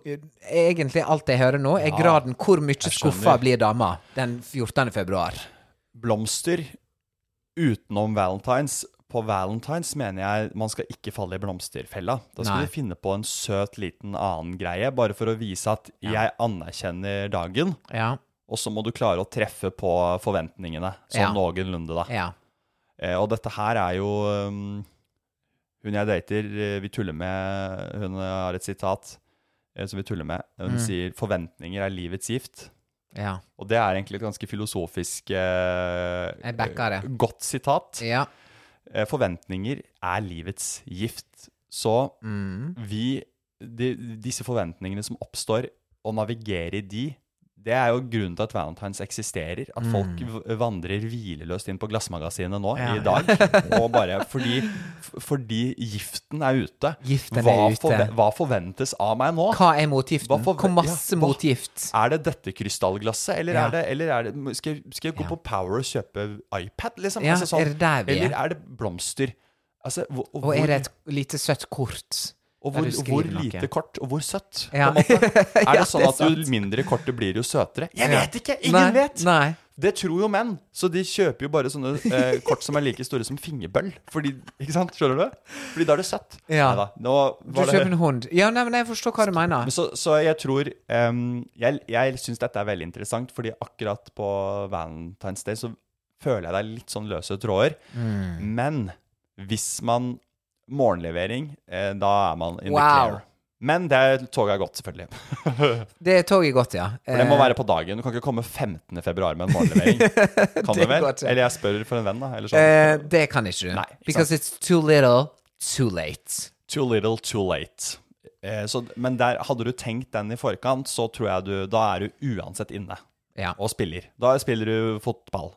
[SPEAKER 3] egentlig alt jeg hører nå, er graden hvor mye skuffa blir dama den 14. februar.
[SPEAKER 2] Blomster utenom valentines. På valentines mener jeg man skal ikke falle i blomsterfella. Da skal
[SPEAKER 3] Nei.
[SPEAKER 2] du finne på en søt liten annen greie, bare for å vise at jeg anerkjenner dagen.
[SPEAKER 3] Ja.
[SPEAKER 2] Og så må du klare å treffe på forventningene, sånn
[SPEAKER 3] Ja.
[SPEAKER 2] noenlunde, da.
[SPEAKER 3] ja.
[SPEAKER 2] Eh, og dette her er jo um, Hun jeg dater, eh, vi tuller med Hun har et sitat eh, som vi tuller med.
[SPEAKER 3] Mm.
[SPEAKER 2] Hun sier 'forventninger er livets gift'.
[SPEAKER 3] Ja.
[SPEAKER 2] Og det er egentlig et ganske filosofisk eh,
[SPEAKER 3] Jeg backer det.
[SPEAKER 2] eh, godt sitat.
[SPEAKER 3] ja.
[SPEAKER 2] Eh, forventninger er livets gift. Så
[SPEAKER 3] Mm.
[SPEAKER 2] vi de, Disse forventningene som oppstår, å navigere i de, det er jo grunnen til at Valentines eksisterer. At folk v- vandrer hvileløst inn på glassmagasinet nå
[SPEAKER 3] Mm. Ja.
[SPEAKER 2] i dag.
[SPEAKER 3] (laughs)
[SPEAKER 2] Og bare fordi, f- fordi giften er ute.
[SPEAKER 3] Giften er
[SPEAKER 2] hva,
[SPEAKER 3] ute.
[SPEAKER 2] forve- hva forventes av meg nå?
[SPEAKER 3] Hva er
[SPEAKER 2] Hva
[SPEAKER 3] motgiften?
[SPEAKER 2] forve-
[SPEAKER 3] Hvor masse
[SPEAKER 2] ja, hva-
[SPEAKER 3] motgift?
[SPEAKER 2] Er det dette krystallglasset, eller,
[SPEAKER 3] Ja.
[SPEAKER 2] er, det, eller er det Skal jeg, skal jeg gå
[SPEAKER 3] Ja.
[SPEAKER 2] på Power og kjøpe iPad, liksom?
[SPEAKER 3] Ja,
[SPEAKER 2] altså, sånn.
[SPEAKER 3] er det der vi er?
[SPEAKER 2] Eller er det blomster? Altså, hvor, og
[SPEAKER 3] Og
[SPEAKER 2] hvor-
[SPEAKER 3] er det et lite søtt kort?
[SPEAKER 2] og
[SPEAKER 3] der
[SPEAKER 2] hvor,
[SPEAKER 3] du skriver
[SPEAKER 2] hvor
[SPEAKER 3] noe?
[SPEAKER 2] lite kort, og hvor søtt,
[SPEAKER 3] Ja. (laughs)
[SPEAKER 2] på en måte. Er
[SPEAKER 3] Ja,
[SPEAKER 2] det sånn
[SPEAKER 3] det er
[SPEAKER 2] at jo
[SPEAKER 3] sant.
[SPEAKER 2] mindre kort det blir, jo søtere? Jeg
[SPEAKER 3] Ja.
[SPEAKER 2] vet ikke! Ingen
[SPEAKER 3] Nei,
[SPEAKER 2] vet!
[SPEAKER 3] Nei.
[SPEAKER 2] Det tror jo menn, så de kjøper jo bare sånne eh, kort som er like store som fingerbøll. Fordi, ikke sant, skjønner du? Fordi da er det søtt.
[SPEAKER 3] Ja.
[SPEAKER 2] Neida, nå
[SPEAKER 3] Du
[SPEAKER 2] var
[SPEAKER 3] kjøper
[SPEAKER 2] det...
[SPEAKER 3] en hund. Ja, nei, men jeg forstår hva du mener.
[SPEAKER 2] Men så, så jeg tror em, Jeg, jeg syns dette er veldig interessant, fordi akkurat på Valentine's Day så føler jeg det er litt sånn løse tråder.
[SPEAKER 3] Mm.
[SPEAKER 2] Men hvis man Morgenlevering, eh, da er man in the
[SPEAKER 3] Wow.
[SPEAKER 2] clear. Men det er- toget er gått, selvfølgelig.
[SPEAKER 3] Det er toget godt, ja.
[SPEAKER 2] For det må være på dagen. Du kan ikke komme 15. februar med en
[SPEAKER 3] (laughs)
[SPEAKER 2] morgenlevering. Kan
[SPEAKER 3] Det
[SPEAKER 2] du vel?
[SPEAKER 3] går ikke.
[SPEAKER 2] Eller jeg spør for en venn, da. Eller sånn.
[SPEAKER 3] Eh, det kan ikke du.
[SPEAKER 2] Nei, ikke
[SPEAKER 3] Because it's too little, too late.
[SPEAKER 2] Too little, too late. Eh, så, men der, hadde du tenkt den i forkant, så tror jeg du Da er du uansett inne
[SPEAKER 3] Ja.
[SPEAKER 2] og spiller. Da spiller du fotball.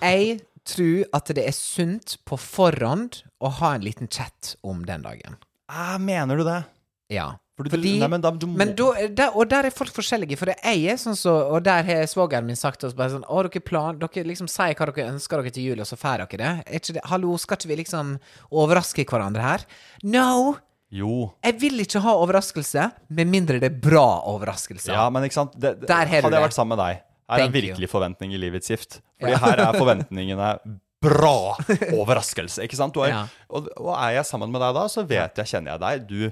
[SPEAKER 3] Jeg tror at det er sunt på forhånd å ha en liten chat om den dagen.
[SPEAKER 2] Ah, mener du det?
[SPEAKER 3] Ja.
[SPEAKER 2] Fordi du- nei, men da- du må-
[SPEAKER 3] men da er- der, Og der er folk forskjellige, for det jeg er sånn så Og der har svogeren min sagt til oss bare sånn Å, dere plan... Dere liksom sier hva dere ønsker dere til jul, og så får dere det. Er ikke det. Hallo, skal ikke vi liksom overraske hverandre her? No!
[SPEAKER 2] Jo.
[SPEAKER 3] Jeg vil ikke ha overraskelse, med mindre det er bra overraskelse.
[SPEAKER 2] Ja, men ikke sant? Det, det,
[SPEAKER 3] Der har du
[SPEAKER 2] hadde jeg
[SPEAKER 3] det.
[SPEAKER 2] vært sammen med deg, er det
[SPEAKER 3] Thank you.
[SPEAKER 2] virkelig forventning i livets gift. Fordi her er forventningene
[SPEAKER 3] (laughs)
[SPEAKER 2] bra overraskelse, ikke sant? Du er,
[SPEAKER 3] Ja.
[SPEAKER 2] og, og er jeg sammen med deg da, så vet jeg, kjenner jeg deg. Du,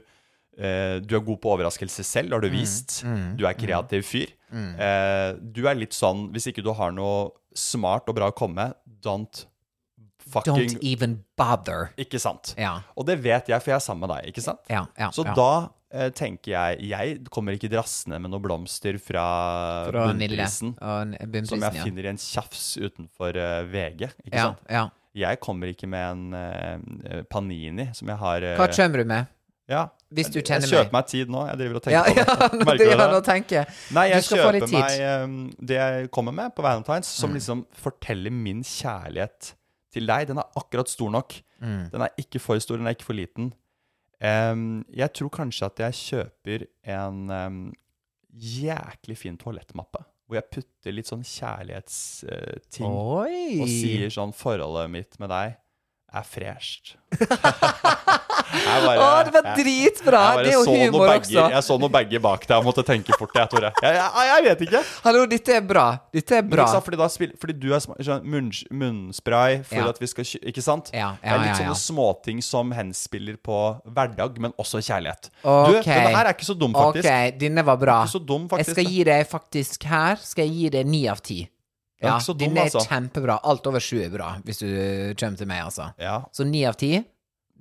[SPEAKER 2] eh, du er god på overraskelse selv, har du vist. Du er kreativ fyr. Eh, du er litt sånn, hvis ikke du har noe smart og bra å komme med, don't fucking
[SPEAKER 3] Don't even bother.
[SPEAKER 2] Ikke sant?
[SPEAKER 3] Ja.
[SPEAKER 2] Og det vet jeg, for jeg er sammen med deg, ikke sant?
[SPEAKER 3] Ja, ja,
[SPEAKER 2] så
[SPEAKER 3] ja.
[SPEAKER 2] da eh, tenker jeg Jeg kommer ikke drassende med noen blomster fra,
[SPEAKER 3] Fra Nille.
[SPEAKER 2] bunnprisen,
[SPEAKER 3] Og n- bunnprisen,
[SPEAKER 2] som jeg
[SPEAKER 3] ja.
[SPEAKER 2] finner i en tjafs utenfor eh, VG, ikke
[SPEAKER 3] ja,
[SPEAKER 2] sant?
[SPEAKER 3] ja.
[SPEAKER 2] Jeg kommer ikke med en eh, panini som jeg har eh,
[SPEAKER 3] Hva kommer du med?
[SPEAKER 2] ja.
[SPEAKER 3] Hvis du
[SPEAKER 2] Jeg-
[SPEAKER 3] kjenner
[SPEAKER 2] Jeg kjøper meg tid nå. Jeg driver og tenker
[SPEAKER 3] Ja, (laughs) ja,
[SPEAKER 2] på det.
[SPEAKER 3] nå,
[SPEAKER 2] Merker du
[SPEAKER 3] ja, nå
[SPEAKER 2] det?
[SPEAKER 3] tenker jeg.
[SPEAKER 2] Nei,
[SPEAKER 3] Du
[SPEAKER 2] jeg
[SPEAKER 3] skal få
[SPEAKER 2] kjøper
[SPEAKER 3] litt tid. Mm.
[SPEAKER 2] meg eh, det jeg kommer med på Valentine's, som liksom forteller min kjærlighet til deg. Den er akkurat stor nok.
[SPEAKER 3] Mm.
[SPEAKER 2] Den er ikke for stor, den er ikke for liten. Em, jeg tror kanskje at jeg kjøper en em, jæklig fin toalettmappe, hvor jeg putter litt sånn kjærlighetsting
[SPEAKER 3] Oi!
[SPEAKER 2] og sier sånn Forholdet mitt med deg er
[SPEAKER 3] (laughs)
[SPEAKER 2] fresht. (laughs) Jeg bare-
[SPEAKER 3] Å, det var
[SPEAKER 2] jeg-
[SPEAKER 3] dritbra!
[SPEAKER 2] jeg bare
[SPEAKER 3] Det er jo
[SPEAKER 2] så noen
[SPEAKER 3] humor
[SPEAKER 2] bager-
[SPEAKER 3] også.
[SPEAKER 2] Jeg så noen bager bak deg og måtte tenke fort. Jeg, Tore. jeg, jeg, jeg vet ikke.
[SPEAKER 3] Hallo, dette er bra. Dette er
[SPEAKER 2] Men
[SPEAKER 3] bra.
[SPEAKER 2] ikke sant, fordi, da spill, fordi du er sma- sånn munns- munnspray for
[SPEAKER 3] Ja.
[SPEAKER 2] at vi skal kjø- Ikke sant?
[SPEAKER 3] Ja,
[SPEAKER 2] det er
[SPEAKER 3] ja,
[SPEAKER 2] litt
[SPEAKER 3] ja, ja.
[SPEAKER 2] sånne småting som henspiller på hverdag, men også kjærlighet. Du,
[SPEAKER 3] Ok.
[SPEAKER 2] denne her er ikke så dum, faktisk.
[SPEAKER 3] Ok, denne var bra.
[SPEAKER 2] Ikke så dum, faktisk,
[SPEAKER 3] Jeg skal
[SPEAKER 2] det.
[SPEAKER 3] gi deg faktisk her Skal jeg gi deg ni av ti.
[SPEAKER 2] er
[SPEAKER 3] Ja,
[SPEAKER 2] ikke så dum,
[SPEAKER 3] denne er
[SPEAKER 2] altså.
[SPEAKER 3] kjempebra. Alt over sju er bra, hvis du kommer til meg, altså.
[SPEAKER 2] Ja.
[SPEAKER 3] Så ni av ti,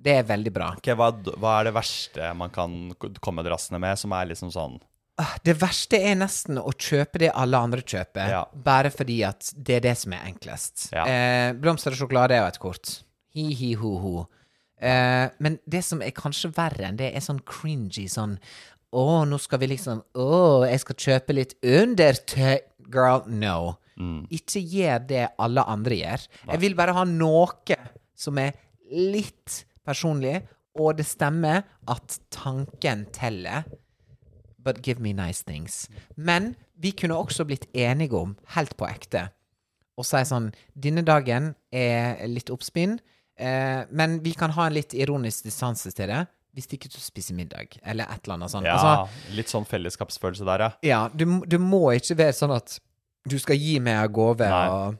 [SPEAKER 3] det er veldig bra.
[SPEAKER 2] Ok, hva, er d- hva er det verste man kan k- komme drassende med, som er liksom sånn
[SPEAKER 3] Ah, Det verste er nesten å kjøpe det alle andre kjøper,
[SPEAKER 2] Ja.
[SPEAKER 3] bare fordi at det er det som er enklest.
[SPEAKER 2] Ja.
[SPEAKER 3] Eh, blomster og sjokolade er jo et kort. Hi-hi-ho-ho. Eh, men det som er kanskje verre enn det, er sånn cringy sånn Å, nå skal vi liksom Å, jeg skal kjøpe litt undertøy Girl, no.
[SPEAKER 2] Mm.
[SPEAKER 3] Ikke gjør det alle andre gjør. Jeg vil bare ha noe som er litt personlig, og det stemmer at tanken teller. But give me nice things. Men vi kunne også blitt enige om, helt på ekte, å si sånn Denne dagen er litt oppspinn, eh, men vi kan ha en litt ironisk distanse til det hvis ikke du spiser middag, eller et eller annet sånt.
[SPEAKER 2] Ja,
[SPEAKER 3] Altså,
[SPEAKER 2] litt sånn fellesskapsfølelse der, ja.
[SPEAKER 3] ja, du, m- du må ikke være sånn at du skal gi meg en gave.
[SPEAKER 2] Nei.
[SPEAKER 3] Og,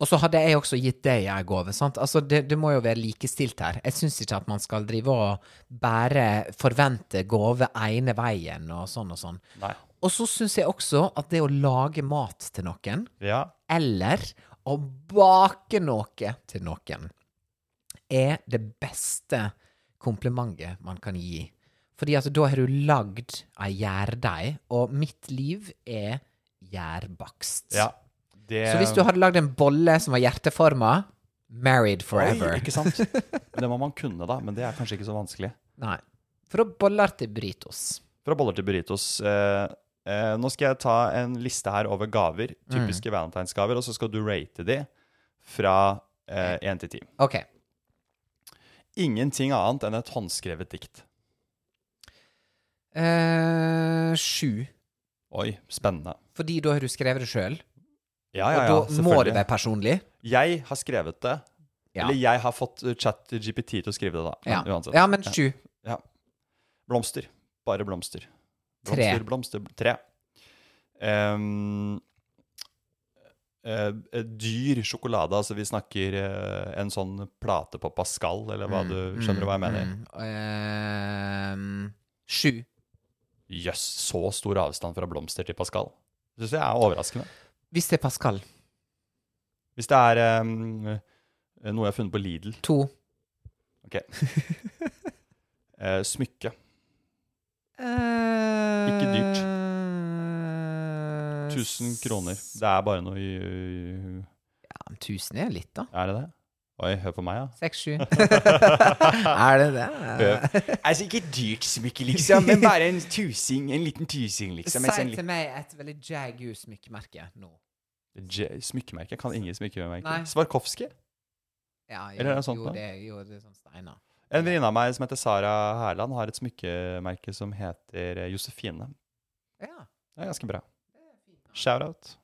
[SPEAKER 3] og så hadde jeg også gitt deg en gave. sant? Altså, det, det må jo være likestilt her. Jeg syns ikke at man skal drive og bare forvente gave ene veien og sånn og sånn.
[SPEAKER 2] Nei.
[SPEAKER 3] Og så syns jeg også at det å lage mat til noen,
[SPEAKER 2] Ja.
[SPEAKER 3] eller å bake noe til noen, er det beste komplimentet man kan gi. Fordi at da har du lagd ei gjærdeig, og mitt liv er gjærbakst.
[SPEAKER 2] ja. eh, Det,
[SPEAKER 3] Så hvis du hadde lagd en bolle som var hjerteforma, married forever.
[SPEAKER 2] Oi, ikke sant? Det må man kunne, da, men det er kanskje ikke så vanskelig.
[SPEAKER 3] Nei. Fra boller til burritos.
[SPEAKER 2] Fra boller til burritos. Eh, eh, nå skal jeg ta en liste her over gaver, typiske valentinsgaver, og så skal du rate de fra eh, 1 til 10.
[SPEAKER 3] Ok.
[SPEAKER 2] Ingenting annet enn et håndskrevet dikt.
[SPEAKER 3] Eh, sju.
[SPEAKER 2] Oi, spennende.
[SPEAKER 3] Fordi da har du skrevet det sjøl,
[SPEAKER 2] Ja, ja, ja,
[SPEAKER 3] og da må det
[SPEAKER 2] selvfølgelig.
[SPEAKER 3] være personlig.
[SPEAKER 2] Jeg har skrevet det.
[SPEAKER 3] Ja.
[SPEAKER 2] Eller jeg har fått eh, ChatGPT til å skrive det, da. Men
[SPEAKER 3] Ja,
[SPEAKER 2] uansett.
[SPEAKER 3] ja men sju.
[SPEAKER 2] Ja. Blomster. Bare blomster.
[SPEAKER 3] Tre.
[SPEAKER 2] Blomster, blomster, tre. Ehm, eh, dyr sjokolade. Altså vi snakker eh, en sånn plate på Pascal, eller hva du skjønner du hva jeg mener?
[SPEAKER 3] Mm. Eh, sju.
[SPEAKER 2] Jøss, så stor avstand fra blomster til Pascal. Det syns jeg er overraskende.
[SPEAKER 3] Hvis det er Pascal.
[SPEAKER 2] Hvis det er eh, noe jeg har funnet på Lidl
[SPEAKER 3] To.
[SPEAKER 2] Ok. Eh, smykke.
[SPEAKER 3] Ikke
[SPEAKER 2] dyrt. 1000 kroner. Det er bare noe i-
[SPEAKER 3] Ja, men 1000 er litt, da.
[SPEAKER 2] Er det det? Oi, hør på meg, ja. (laughs)
[SPEAKER 3] 6-7. er det det?
[SPEAKER 2] Altså, ikke dyrt smykke, liksom, men bare en tusing. En liten tusing, liksom.
[SPEAKER 3] Si til meg et veldig jagu smykkemerke nå.
[SPEAKER 2] smykkemerke? Jeg kan ingen
[SPEAKER 3] Nei.
[SPEAKER 2] smykkemerke. Swarkowski.
[SPEAKER 3] Ja, jo,
[SPEAKER 2] Eller er det sånt
[SPEAKER 3] jo,
[SPEAKER 2] da?
[SPEAKER 3] det, jo, det er sånn steiner.
[SPEAKER 2] En venninne av meg som heter Sara Herland, har et smykkemerke som heter eh, Josefine.
[SPEAKER 3] Ja.
[SPEAKER 2] Det er ganske bra. Shout-out.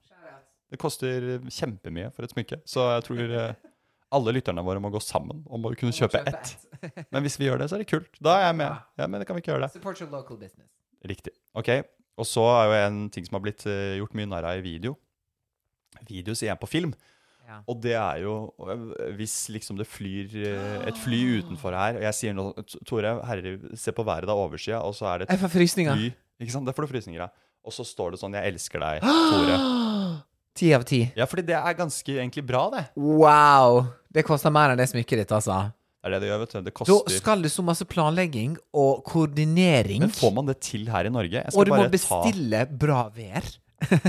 [SPEAKER 2] Det koster kjempemye for et smykke, så jeg tror eh, alle lytterne våre må gå sammen om å kunne kjøpe ett.
[SPEAKER 3] ett. (laughs)
[SPEAKER 2] Men hvis vi gjør det, så er det kult. Da er jeg med. Ja, men det kan vi ikke gjøre det.
[SPEAKER 3] Support your local business.
[SPEAKER 2] Riktig. Ok, og så er jo en ting som har blitt eh, gjort mye narr av i video. Video sier jeg på film.
[SPEAKER 3] Ja.
[SPEAKER 2] Og det er jo eh, Hvis liksom det flyr eh, et fly
[SPEAKER 3] Ah.
[SPEAKER 2] utenfor her, og jeg sier nå Tore, herre, se på været, det er overskya, og så er det et
[SPEAKER 3] Jeg får frysninger.
[SPEAKER 2] fly Ikke sant? Det får du frysninger av. Og så står det sånn 'Jeg elsker
[SPEAKER 3] (gasps)
[SPEAKER 2] deg, Tore'.
[SPEAKER 3] Ti av ti.
[SPEAKER 2] Ja, fordi det er ganske egentlig bra, det.
[SPEAKER 3] Wow! Det koster mer enn det smykket ditt, altså.
[SPEAKER 2] Det er det det gjør, vet du. Det
[SPEAKER 3] Da
[SPEAKER 2] koster
[SPEAKER 3] skal det så masse planlegging og koordinering.
[SPEAKER 2] Men får man det til her i Norge? Jeg skal
[SPEAKER 3] Og du må
[SPEAKER 2] bare ta-
[SPEAKER 3] bestille bra vær.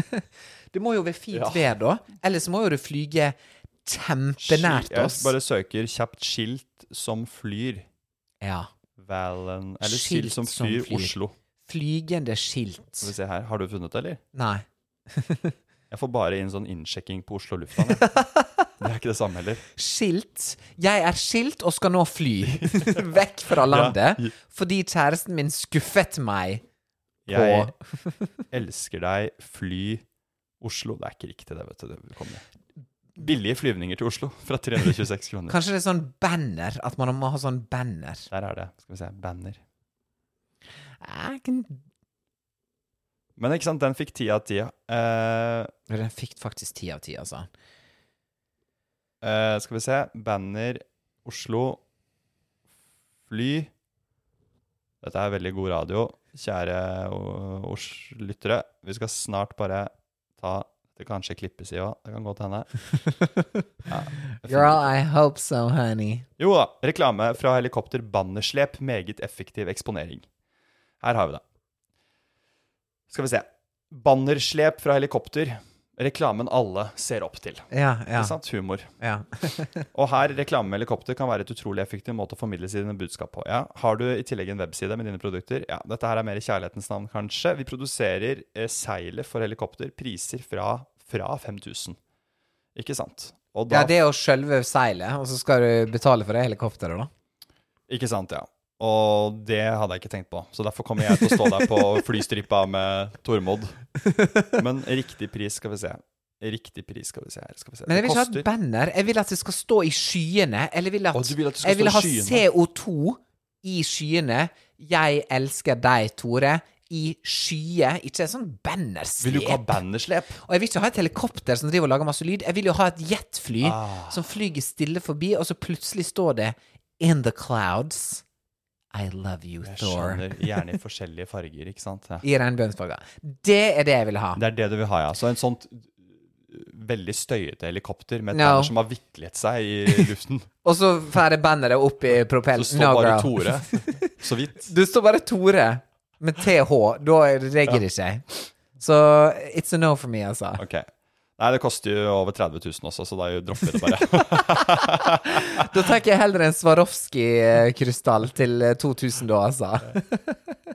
[SPEAKER 3] (laughs) det må jo være fint
[SPEAKER 2] Ja.
[SPEAKER 3] vær da, ellers må jo du flyge kjempenært
[SPEAKER 2] Jeg
[SPEAKER 3] oss.
[SPEAKER 2] bare søker kjapt 'skilt som flyr'.
[SPEAKER 3] Ja.
[SPEAKER 2] Valen Eller
[SPEAKER 3] Skilt
[SPEAKER 2] skilt som
[SPEAKER 3] som
[SPEAKER 2] flyr,
[SPEAKER 3] flyr.
[SPEAKER 2] Oslo.
[SPEAKER 3] Flygende skilt.
[SPEAKER 2] Skal vi se her. Har du funnet det, eller?
[SPEAKER 3] Nei.
[SPEAKER 2] Jeg får bare inn sånn innsjekking på Oslo lufthavn.
[SPEAKER 3] (laughs)
[SPEAKER 2] jeg. Det er ikke det samme heller.
[SPEAKER 3] Skilt. Jeg er skilt og skal nå
[SPEAKER 2] (laughs)
[SPEAKER 3] fly. Vekk fra landet. Fordi kjæresten min skuffet meg.
[SPEAKER 2] Jeg elsker deg, fly Oslo. Det er ikke riktig, det, vet du. Det kommer. Billige flyvninger til Oslo
[SPEAKER 3] (laughs)
[SPEAKER 2] fra 326 kroner.
[SPEAKER 3] Kanskje det er sånn banner? At man må ha sånn banner.
[SPEAKER 2] Der er det. Skal vi se. Banner.
[SPEAKER 3] Jeg kan-
[SPEAKER 2] Men ikke sant, den fikk ti av ti. Eh,
[SPEAKER 3] Den fikk faktisk ti av ti, altså.
[SPEAKER 2] eh, skal vi se. Banner Oslo fly. Dette er veldig god radio, kjære o- Oslo-lyttere. Vi skal snart bare ta Det kan kanskje klippes i òg. Det kan godt hende. Ja, jeg finner
[SPEAKER 3] Girl, I hope so, honey.
[SPEAKER 2] Jo da, reklame fra helikopter bannerslep, meget effektiv eksponering. Her har vi det. Skal vi se. Bannerslep fra helikopter, reklamen alle ser opp til.
[SPEAKER 3] Ja, ja.
[SPEAKER 2] Ikke sant? Humor.
[SPEAKER 3] ja.
[SPEAKER 2] Og her, reklame med helikopter kan være et utrolig effektiv måte å formidle sine budskap på. Ja. Har du i tillegg en webside med dine produkter? Ja, dette her er mer i kjærlighetens navn, kanskje. Vi produserer eh, seilet for helikopter, priser fra, fra 5000. Ikke sant? Og da
[SPEAKER 3] Ja, det er jo sjølve seilet, og så skal du betale for det helikopteret, da.
[SPEAKER 2] Ikke sant, ja. Og det hadde jeg ikke tenkt på, så derfor kommer jeg til å stå der på
[SPEAKER 3] (laughs)
[SPEAKER 2] flystripa med Tormod. Men riktig pris skal vi se. Riktig pris skal vi se her. Skal vi se.
[SPEAKER 3] Men jeg vil
[SPEAKER 2] Det
[SPEAKER 3] ikke ha et
[SPEAKER 2] koster
[SPEAKER 3] banner. Jeg vil at det skal stå i skyene. Eller vil at,
[SPEAKER 2] Å, du vil at det skal
[SPEAKER 3] jeg vil
[SPEAKER 2] stå
[SPEAKER 3] ha
[SPEAKER 2] i skyene.
[SPEAKER 3] CO2 i skyene. Jeg elsker deg, Tore. I skyer. Ikke et sånn bannerslep.
[SPEAKER 2] Vil du ikke ha bannerslep?
[SPEAKER 3] Og jeg vil ikke ha et helikopter som driver og lager masse lyd. Jeg vil jo ha et jetfly
[SPEAKER 2] Ah.
[SPEAKER 3] som flyger stille forbi, og så plutselig står det In the clouds. I love you,
[SPEAKER 2] Jeg
[SPEAKER 3] Thor.
[SPEAKER 2] skjønner. Gjerne i forskjellige farger, ikke sant. Ja.
[SPEAKER 3] I regnbuensfarger. Det er det jeg vil ha.
[SPEAKER 2] Det er det du vil ha, ja. Så en sånt øh, veldig støyete helikopter med et
[SPEAKER 3] No.
[SPEAKER 2] banner som har viklet seg
[SPEAKER 3] (laughs)
[SPEAKER 2] i luften.
[SPEAKER 3] Og så får jeg banneret opp i propellen.
[SPEAKER 2] Så står
[SPEAKER 3] No,
[SPEAKER 2] bare
[SPEAKER 3] girl. (laughs)
[SPEAKER 2] Tore så vidt.
[SPEAKER 3] Du står bare Tore med TH. Da reagerer ikke jeg. Så it's a no for me, altså.
[SPEAKER 2] Ok. Nei, det koster jo over 30 000 også, så da dropper vi det
[SPEAKER 3] (laughs)
[SPEAKER 2] bare.
[SPEAKER 3] Da tar jeg heller en Swarovski-krystall til eh, 2000, da, altså.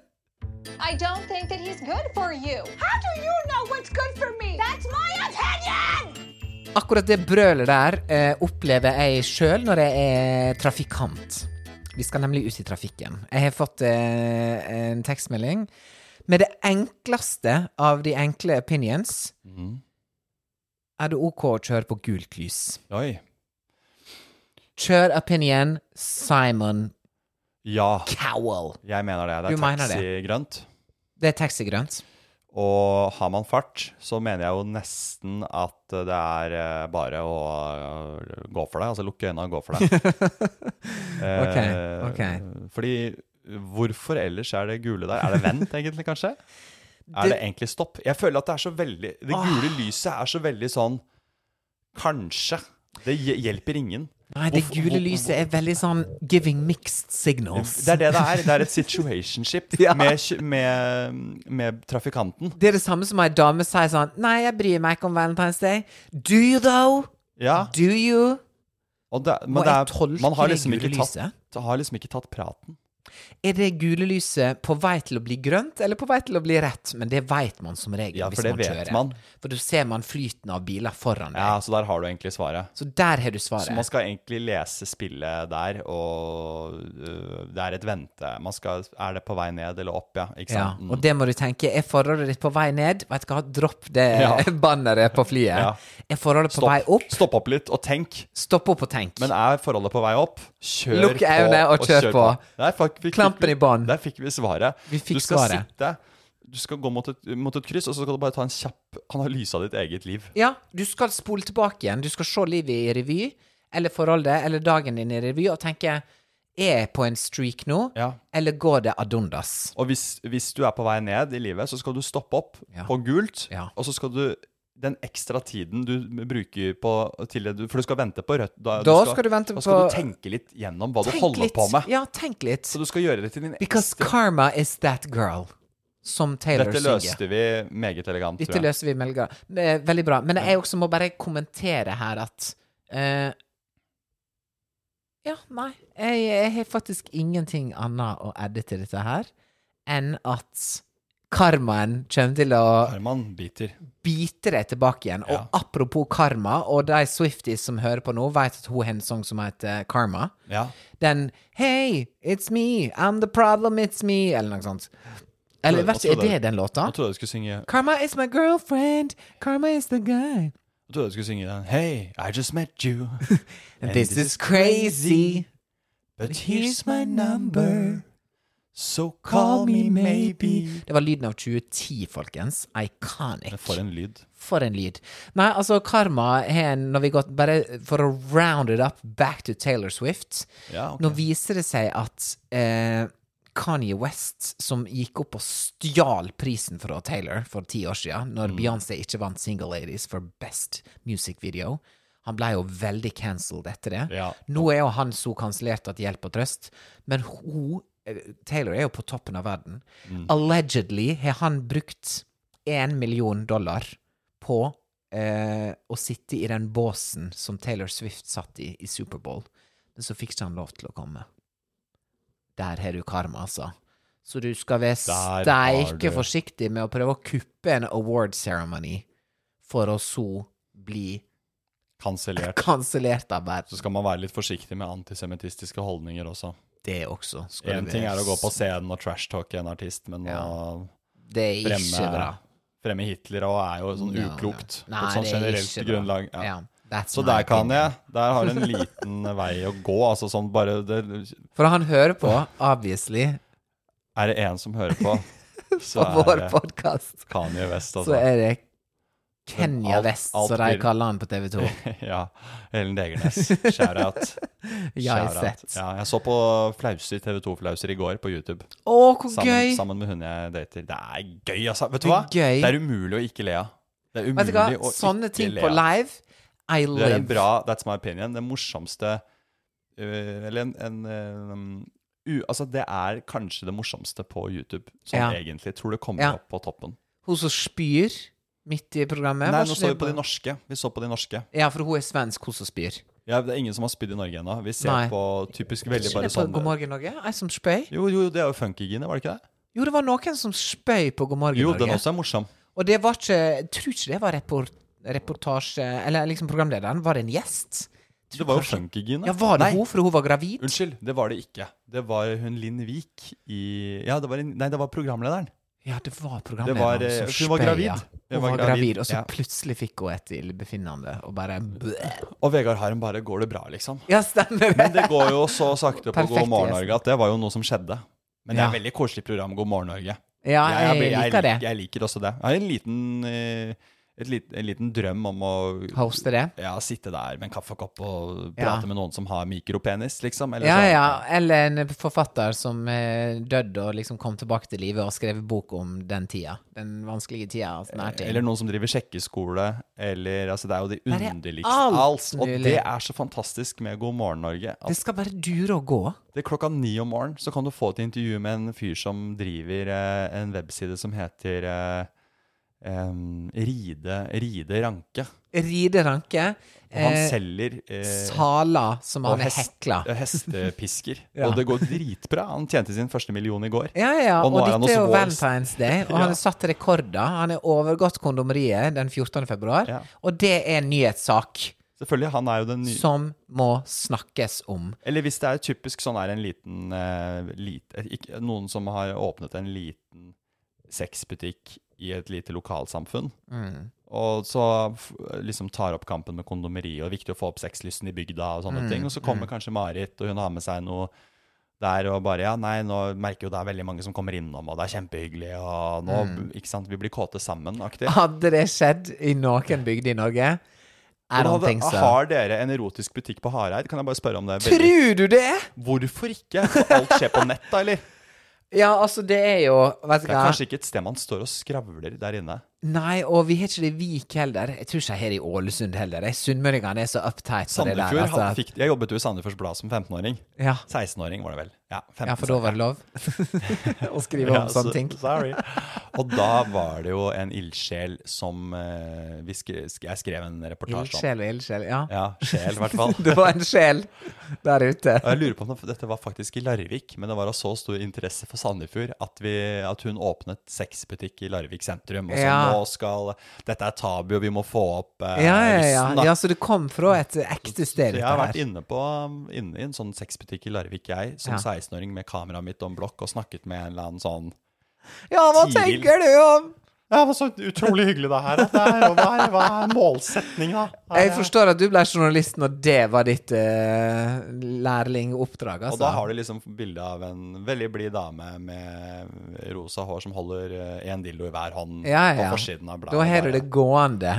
[SPEAKER 5] I don't think that he's good for you. How do you know what's good for me? That's my opinion!
[SPEAKER 3] Akkurat det brølet der eh, opplever jeg sjøl når jeg er trafikant. Vi skal nemlig ut i trafikken. Jeg har fått eh, en tekstmelding med det enkleste av de enkle opinions.
[SPEAKER 2] Mhm.
[SPEAKER 3] Er det OK å kjøre på gult lys?
[SPEAKER 2] Oi.
[SPEAKER 3] Kjør opinion Simon
[SPEAKER 2] Ja.
[SPEAKER 3] Cowell.
[SPEAKER 2] Jeg mener det. Det
[SPEAKER 3] Du
[SPEAKER 2] er
[SPEAKER 3] mener det.
[SPEAKER 2] taxigrønt.
[SPEAKER 3] Det er taxigrønt.
[SPEAKER 2] Og har man fart, så mener jeg jo nesten at det er eh, bare å eh, gå for det. Altså lukke øynene og gå
[SPEAKER 3] (laughs)
[SPEAKER 2] for det. Eh,
[SPEAKER 3] ok.
[SPEAKER 2] Fordi hvorfor ellers er det gule der? Er det
[SPEAKER 3] (laughs)
[SPEAKER 2] vent, egentlig, kanskje? Er det egentlig stopp? Jeg føler at det er så veldig Det gule lyset er så veldig sånn Kanskje. Det hj- hjelper ingen.
[SPEAKER 3] Nei, det
[SPEAKER 2] Hvorfor-
[SPEAKER 3] gule
[SPEAKER 2] hvor-
[SPEAKER 3] lyset er veldig sånn giving mixed signals.
[SPEAKER 2] Det er det det er. Det er et situationship
[SPEAKER 3] (laughs) Ja.
[SPEAKER 2] med, kj- med, med trafikanten.
[SPEAKER 3] Det er det samme som ei dame sier sånn Nei, jeg bryr meg ikke om Valentine's Day. Do you though?
[SPEAKER 2] Ja,
[SPEAKER 3] Do you?
[SPEAKER 2] og det, men
[SPEAKER 3] Må
[SPEAKER 2] det
[SPEAKER 3] jeg
[SPEAKER 2] er,
[SPEAKER 3] tolke
[SPEAKER 2] man har
[SPEAKER 3] det
[SPEAKER 2] liksom, ikke
[SPEAKER 3] gule
[SPEAKER 2] tatt,
[SPEAKER 3] lyset?
[SPEAKER 2] det har liksom ikke tatt praten.
[SPEAKER 3] Er det gule lyset på vei til å bli grønt, eller på vei til å bli rett? Men det veit man som regel
[SPEAKER 2] Ja, for
[SPEAKER 3] hvis
[SPEAKER 2] det
[SPEAKER 3] man
[SPEAKER 2] vet
[SPEAKER 3] kjører.
[SPEAKER 2] man.
[SPEAKER 3] For da ser man flyten av biler foran deg.
[SPEAKER 2] Ja, Så der har du egentlig svaret.
[SPEAKER 3] Så der har du svaret.
[SPEAKER 2] Så man skal egentlig lese spillet der, og øh, det er et vente. Man skal, er det på vei ned eller opp, ja? Ikke
[SPEAKER 3] ja,
[SPEAKER 2] sant? Mm.
[SPEAKER 3] og det må du tenke. Er forholdet ditt på vei ned? Vet du hva, dropp det
[SPEAKER 2] (laughs) Ja.
[SPEAKER 3] (laughs) banneret på flyet.
[SPEAKER 2] Ja.
[SPEAKER 3] Er forholdet på
[SPEAKER 2] Stopp.
[SPEAKER 3] vei opp?
[SPEAKER 2] Stopp opp litt og tenk.
[SPEAKER 3] Stopp opp og tenk.
[SPEAKER 2] Men er forholdet på vei opp, kjør
[SPEAKER 3] Lukk
[SPEAKER 2] på.
[SPEAKER 3] øynene og kjør på.
[SPEAKER 2] Der fikk, fikk,
[SPEAKER 3] Klampen i bånd.
[SPEAKER 2] Der fikk vi svaret.
[SPEAKER 3] Vi fikk
[SPEAKER 2] du skal
[SPEAKER 3] svaret.
[SPEAKER 2] sitte, du skal gå mot et, mot et kryss, og så skal du bare ta en kjapp analyse av ditt eget liv.
[SPEAKER 3] Ja, du skal spole tilbake igjen. Du skal se livet i revy, eller forholdet, eller dagen din i revy, og tenke Er jeg på en streak nå,
[SPEAKER 2] Ja.
[SPEAKER 3] eller går det ad undas?
[SPEAKER 2] Og hvis, hvis du er på vei ned i livet, så skal du stoppe opp
[SPEAKER 3] Ja.
[SPEAKER 2] på gult,
[SPEAKER 3] Ja.
[SPEAKER 2] og så skal du den ekstra tiden du bruker på til det du, For du skal vente på rødt.
[SPEAKER 3] Da skal du vente
[SPEAKER 2] da skal
[SPEAKER 3] på-
[SPEAKER 2] du tenke litt gjennom hva
[SPEAKER 3] Tenk
[SPEAKER 2] du holder
[SPEAKER 3] litt.
[SPEAKER 2] på med.
[SPEAKER 3] Ja, tenk litt.
[SPEAKER 2] Så du skal gjøre det til din
[SPEAKER 3] Because
[SPEAKER 2] ekstra
[SPEAKER 3] karma is that girl, som Taylor
[SPEAKER 2] Dette
[SPEAKER 3] synger.
[SPEAKER 2] løste vi meget elegant,
[SPEAKER 3] Dette løser vi med Helga. Eh, Veldig bra. Men jeg også må bare kommentere her at eh, Ja, nei. Jeg, jeg har faktisk ingenting annet å adde til dette her enn at karmaen kommer til å
[SPEAKER 2] Herman biter.
[SPEAKER 3] bite deg tilbake igjen.
[SPEAKER 2] Ja.
[SPEAKER 3] Og apropos karma, og de Swifties som hører på nå, vet at hun har en sang som heter Karma.
[SPEAKER 2] Ja.
[SPEAKER 3] Den Hey, it's me, I'm the problem, it's me, eller noe sånt. Eller
[SPEAKER 2] Hva
[SPEAKER 3] vet du,
[SPEAKER 2] tror
[SPEAKER 3] er
[SPEAKER 2] du-
[SPEAKER 3] det den låta?
[SPEAKER 2] Nå trodde jeg du skulle synge
[SPEAKER 3] Karma is my girlfriend. Karma is the guy.
[SPEAKER 2] Jeg trodde jeg skulle synge den. Hey, I just met
[SPEAKER 3] (laughs)
[SPEAKER 2] you,
[SPEAKER 3] And this is crazy.
[SPEAKER 2] but here's my number. So call me maybe.
[SPEAKER 3] Det var lyden av 2010, folkens. Iconic.
[SPEAKER 2] Men For en lyd.
[SPEAKER 3] For en lyd. Nei, altså, karma har en Når vi gått Bare for å round it up back to Taylor Swift
[SPEAKER 2] Ja, ok.
[SPEAKER 3] Nå viser det seg at eh, Kanye West, som gikk opp og stjal prisen fra Taylor for ti år siden, når
[SPEAKER 2] Mm.
[SPEAKER 3] Beyoncé ikke vant Single Ladies for Best Music Video Han ble jo veldig cancelled etter det.
[SPEAKER 2] Ja.
[SPEAKER 3] Nå er jo han så kansellert at hjelp og trøst, men hun eh, Taylor er jo på toppen av verden.
[SPEAKER 2] Mm.
[SPEAKER 3] Allegedly har han brukt én million dollar på eh, å sitte i den båsen som Taylor Swift satt i i Superbowl, men så fikk ikke han lov til å komme. Der har du karma, altså. Så du skal være
[SPEAKER 2] Der har
[SPEAKER 3] steike
[SPEAKER 2] du.
[SPEAKER 3] forsiktig med å prøve å kuppe en award ceremony for å så bli
[SPEAKER 2] Kansellert.
[SPEAKER 3] kansellert av
[SPEAKER 2] Så
[SPEAKER 3] verden.
[SPEAKER 2] skal man være litt forsiktig med antisemittistiske holdninger også.
[SPEAKER 3] Det også. skal
[SPEAKER 2] Én
[SPEAKER 3] du
[SPEAKER 2] ting
[SPEAKER 3] være
[SPEAKER 2] er å gå på scenen og trashtalke en artist, men å
[SPEAKER 3] Det er ikke
[SPEAKER 2] fremme,
[SPEAKER 3] bra.
[SPEAKER 2] fremme Hitler og er jo sånn
[SPEAKER 3] No, no.
[SPEAKER 2] uklokt
[SPEAKER 3] Nei,
[SPEAKER 2] på et sånn
[SPEAKER 3] det er
[SPEAKER 2] generelt
[SPEAKER 3] ikke bra.
[SPEAKER 2] grunnlag. Ja.
[SPEAKER 3] Ja, that's
[SPEAKER 2] Så
[SPEAKER 3] my
[SPEAKER 2] der kan
[SPEAKER 3] opinion.
[SPEAKER 2] jeg. Der har du
[SPEAKER 3] (laughs)
[SPEAKER 2] en liten vei å gå. Altså sånn bare det,
[SPEAKER 3] For han hører på, obviously,
[SPEAKER 2] (laughs) Er det en som hører
[SPEAKER 3] (laughs)
[SPEAKER 2] på, så
[SPEAKER 3] på
[SPEAKER 2] er
[SPEAKER 3] vår
[SPEAKER 2] det
[SPEAKER 3] podkast,
[SPEAKER 2] Kanye West.
[SPEAKER 3] så
[SPEAKER 2] Altså.
[SPEAKER 3] er det Kenya
[SPEAKER 2] alt-
[SPEAKER 3] West,
[SPEAKER 2] alt
[SPEAKER 3] som de
[SPEAKER 2] blir-
[SPEAKER 3] kaller han på TV
[SPEAKER 2] (laughs)
[SPEAKER 3] 2.
[SPEAKER 2] Ja. Ellen Degernes. Shout-out.
[SPEAKER 3] (laughs) Jeg har
[SPEAKER 2] Shout-out.
[SPEAKER 3] sett.
[SPEAKER 2] Ja, jeg så på Flauser, TV2-Flauser i går på YouTube.
[SPEAKER 3] Å, hvor
[SPEAKER 2] Sammen,
[SPEAKER 3] gøy!
[SPEAKER 2] sammen med hun jeg dater. Det er gøy, altså. Vet du
[SPEAKER 3] Det er
[SPEAKER 2] hva?
[SPEAKER 3] gøy.
[SPEAKER 2] Det er umulig å ikke le av. Det er
[SPEAKER 3] Vet du
[SPEAKER 2] umulig
[SPEAKER 3] hva,
[SPEAKER 2] å
[SPEAKER 3] sånne
[SPEAKER 2] ikke
[SPEAKER 3] ting
[SPEAKER 2] le
[SPEAKER 3] på
[SPEAKER 2] av.
[SPEAKER 3] live, I
[SPEAKER 2] Det er en
[SPEAKER 3] live.
[SPEAKER 2] bra That's my opinion. Den morsomste øh, Eller en, en øh, um, u, Altså, det er kanskje det morsomste på YouTube, sånn
[SPEAKER 3] Ja.
[SPEAKER 2] egentlig. Tror det kommer
[SPEAKER 3] Ja.
[SPEAKER 2] opp på toppen.
[SPEAKER 3] Hun som spyr midt i programmet.
[SPEAKER 2] Nei,
[SPEAKER 3] var
[SPEAKER 2] nå
[SPEAKER 3] ikke
[SPEAKER 2] så vi
[SPEAKER 3] det
[SPEAKER 2] på de norske. Vi så på de norske.
[SPEAKER 3] Ja, for hun er svensk, hun som spyr.
[SPEAKER 2] Ja, det er ingen som har spydd i Norge ennå. Vi ser
[SPEAKER 3] Nei.
[SPEAKER 2] på typisk veldig
[SPEAKER 3] Ikke
[SPEAKER 2] bare
[SPEAKER 3] det på
[SPEAKER 2] sånn
[SPEAKER 3] God morgen Norge? Ei som spøy?
[SPEAKER 2] Jo, jo, det er jo funkygine, var det ikke det?
[SPEAKER 3] Jo, det var noen som spøy på God morgen
[SPEAKER 2] Jo,
[SPEAKER 3] Norge.
[SPEAKER 2] den også er morsom.
[SPEAKER 3] Og det var ikke Jeg tror ikke det var report, reportasje Eller liksom programlederen. Var det en gjest?
[SPEAKER 2] Det var jo
[SPEAKER 3] Kanskje-
[SPEAKER 2] funkygine.
[SPEAKER 3] Ja, var det
[SPEAKER 2] Nei,
[SPEAKER 3] hun, for hun var gravid?
[SPEAKER 2] Unnskyld, det var det ikke. Det var hun Linn Vik i Ja, det var, en- nei, det var programlederen.
[SPEAKER 3] Ja, det var
[SPEAKER 2] Det
[SPEAKER 3] programlederen
[SPEAKER 2] var, eh,
[SPEAKER 3] som
[SPEAKER 2] hun var
[SPEAKER 3] spøy,
[SPEAKER 2] gravid.
[SPEAKER 3] ja.
[SPEAKER 2] Hun
[SPEAKER 3] Hun
[SPEAKER 2] var
[SPEAKER 3] var
[SPEAKER 2] gravid,
[SPEAKER 3] gravid, og så
[SPEAKER 2] ja.
[SPEAKER 3] plutselig fikk hun et illebefinnende, og bare bleh.
[SPEAKER 2] Og Vegard Harm bare 'Går det bra', liksom.
[SPEAKER 3] Ja, stemmer
[SPEAKER 2] Men det går jo så sakte på
[SPEAKER 3] (laughs) Perfekt
[SPEAKER 2] God morgen
[SPEAKER 3] gjest.
[SPEAKER 2] Norge at det var jo noe som skjedde. Men det er
[SPEAKER 3] Ja.
[SPEAKER 2] et veldig koselig program, God morgen Norge.
[SPEAKER 3] Ja,
[SPEAKER 2] er-
[SPEAKER 3] jeg liker det.
[SPEAKER 2] lik- Jeg liker også det. Jeg har en liten, eh, et lit, en liten drøm om å
[SPEAKER 3] Hoste det.
[SPEAKER 2] Ja, sitte der med en kaffekopp og
[SPEAKER 3] Ja.
[SPEAKER 2] prate med noen som har mikropenis, liksom. Eller
[SPEAKER 3] Ja,
[SPEAKER 2] sånn.
[SPEAKER 3] ja. Eller en forfatter som eh, døde og liksom kom tilbake til live og skrev bok om den tida. Den vanskelige tida. Altså, nær til.
[SPEAKER 2] Eh, Eller noen som driver sjekkeskole, eller altså Det er jo de
[SPEAKER 3] er
[SPEAKER 2] underligste
[SPEAKER 3] alt
[SPEAKER 2] alt, Og
[SPEAKER 3] mulig.
[SPEAKER 2] det er så fantastisk med God morgen, Norge.
[SPEAKER 3] det
[SPEAKER 2] At
[SPEAKER 3] skal bare dure og gå.
[SPEAKER 2] det er klokka ni om morgenen så kan du få et intervju med en fyr som driver eh, en webside som heter eh, em, Ride, Ride Ranke.
[SPEAKER 3] Ride ranke.
[SPEAKER 2] Og han
[SPEAKER 3] eh,
[SPEAKER 2] selger eh,
[SPEAKER 3] Saler som
[SPEAKER 2] og
[SPEAKER 3] han er
[SPEAKER 2] hest-
[SPEAKER 3] hekla.
[SPEAKER 2] eh, hestepisker.
[SPEAKER 3] (laughs) Ja.
[SPEAKER 2] Og det går dritbra. Han tjente sin første million i går.
[SPEAKER 3] Ja, ja.
[SPEAKER 2] Og
[SPEAKER 3] Og,
[SPEAKER 2] nå er han
[SPEAKER 3] dette er jo
[SPEAKER 2] hos Walls.
[SPEAKER 3] Valentine's Day, og han har satt rekorder. Han har overgått kondomeriet den 14. februar,
[SPEAKER 2] Ja.
[SPEAKER 3] og det er en nyhetssak
[SPEAKER 2] Selvfølgelig, han er jo den nye
[SPEAKER 3] som må snakkes om.
[SPEAKER 2] Eller hvis det er typisk sånn er en liten eh, lit- eh, ikke, Noen som har åpnet en liten sexbutikk i et lite lokalsamfunn. Og så f liksom tar opp kampen med kondomeriet, og det er viktig å få opp sexlysten i bygda. Og sånne ting, og så kommer kanskje Marit, og hun har med seg noe der og bare Ja, nei, nå merker jo det er veldig mange som kommer innom, og det er kjempehyggelig, og nå Ikke sant, vi blir kåte sammen-aktig.
[SPEAKER 3] Hadde det skjedd i noen bygd i Norge? I don't think so.
[SPEAKER 2] Har dere en erotisk butikk på Hareid? Kan jeg bare spørre om det? Veldig-
[SPEAKER 3] Tror du det?!
[SPEAKER 2] Hvorfor ikke? For alt skjer på nett, da, eller?
[SPEAKER 3] Ja, altså, det er jo Vet
[SPEAKER 2] Det
[SPEAKER 3] du
[SPEAKER 2] er
[SPEAKER 3] hva.
[SPEAKER 2] kanskje ikke et sted man står og skravler der inne.
[SPEAKER 3] Nei, og vi har ikke det i Vik heller. Jeg tror ikke jeg har det i Ålesund heller. Jeg Sunnmøringene er så uptight på det der.
[SPEAKER 2] Sandefjord
[SPEAKER 3] altså.
[SPEAKER 2] hadde- fikk, Jeg jobbet jo i Sandefjords Blad som 15-åring.
[SPEAKER 3] Ja.
[SPEAKER 2] 16-åring var det vel. Ja, 15,
[SPEAKER 3] ja, for da var det
[SPEAKER 2] (laughs)
[SPEAKER 3] lov (laughs) å skrive om
[SPEAKER 2] Ja, så-
[SPEAKER 3] sånne ting.
[SPEAKER 2] (laughs) Sorry. Og da var det jo en ildsjel som eh, vi skre, sk- Jeg skrev en reportasje om.
[SPEAKER 3] Ildsjel og ildsjel, ja.
[SPEAKER 2] Ja, sjel, i hvert
[SPEAKER 3] (laughs)
[SPEAKER 2] fall.
[SPEAKER 3] Det var en sjel der ute.
[SPEAKER 2] Og Jeg lurer på om det- dette var faktisk i Larvik, men det var av så stor interesse for Sandefjord at, vi, at hun åpnet sexbutikk i Larvik sentrum. Og så
[SPEAKER 3] Ja.
[SPEAKER 2] nå skal Dette er tabu, og vi må få opp eh,
[SPEAKER 3] Ja, ja,
[SPEAKER 2] vi
[SPEAKER 3] ja. ja så det kom fra et ekte sted?
[SPEAKER 2] Så
[SPEAKER 3] dette
[SPEAKER 2] jeg har vært
[SPEAKER 3] her.
[SPEAKER 2] inne, på, inne i en sånn sexbutikk i Larvik, jeg, som
[SPEAKER 3] Ja.
[SPEAKER 2] 16-åring med kameraet mitt og en blokk, og snakket med en eller annen sånn
[SPEAKER 3] Ja, hva
[SPEAKER 2] Tiril.
[SPEAKER 3] tenker du om
[SPEAKER 2] Ja, det var så utrolig hyggelig det her. hva, er, målsetninga?
[SPEAKER 3] Jeg forstår at du ble journalist når det var ditt uh, lærlingoppdrag, altså.
[SPEAKER 2] Og da har du liksom bilde av en veldig blid dame med rosa hår som holder én dildo i hver hånd
[SPEAKER 3] ja, ja.
[SPEAKER 2] på forsiden av bladet.
[SPEAKER 3] Da har du
[SPEAKER 2] bare.
[SPEAKER 3] det gående.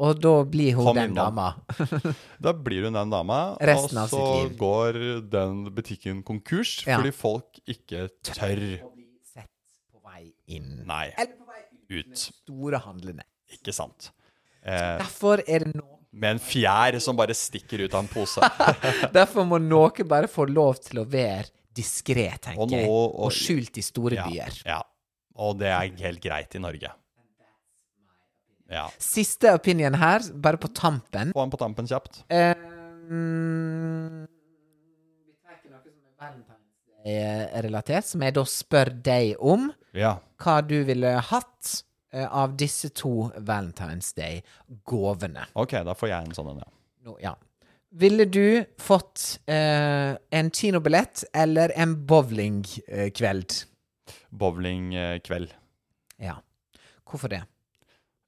[SPEAKER 3] Og da blir hun
[SPEAKER 2] Kom
[SPEAKER 3] den
[SPEAKER 2] innom.
[SPEAKER 3] dama.
[SPEAKER 2] Da blir hun den dama,
[SPEAKER 3] Resten av
[SPEAKER 2] og så
[SPEAKER 3] sitt liv.
[SPEAKER 2] går den butikken konkurs
[SPEAKER 3] Ja.
[SPEAKER 2] fordi folk ikke tør.
[SPEAKER 3] Sett på vei inn.
[SPEAKER 2] Nei,
[SPEAKER 3] Eller på vei
[SPEAKER 2] ut.
[SPEAKER 3] Store handlende.
[SPEAKER 2] Ikke sant. Eh,
[SPEAKER 3] Derfor er det noe
[SPEAKER 2] med en fjær som bare stikker ut av en pose.
[SPEAKER 3] Derfor må noe bare få lov til å være diskré, tenker
[SPEAKER 2] Og nå-
[SPEAKER 3] jeg.
[SPEAKER 2] og-
[SPEAKER 3] Og skjult i store
[SPEAKER 2] ja,
[SPEAKER 3] byer.
[SPEAKER 2] ja. Og det er helt greit i Norge. Ja.
[SPEAKER 3] Siste opinion her, bare på tampen.
[SPEAKER 2] Få han på tampen kjapt.
[SPEAKER 3] Eh, mm, Vi tar noe som er Valentine's Day-relatert, som jeg da spør deg om
[SPEAKER 2] Ja.
[SPEAKER 3] hva du ville hatt eh, av disse to Valentine's Day-gåvene.
[SPEAKER 2] Ok, da får jeg en sånn en, ja.
[SPEAKER 3] Nå, ja. Ville du fått eh, en kinobillett eller en bowlingkveld?
[SPEAKER 2] Bowlingkveld.
[SPEAKER 3] ja. Hvorfor det?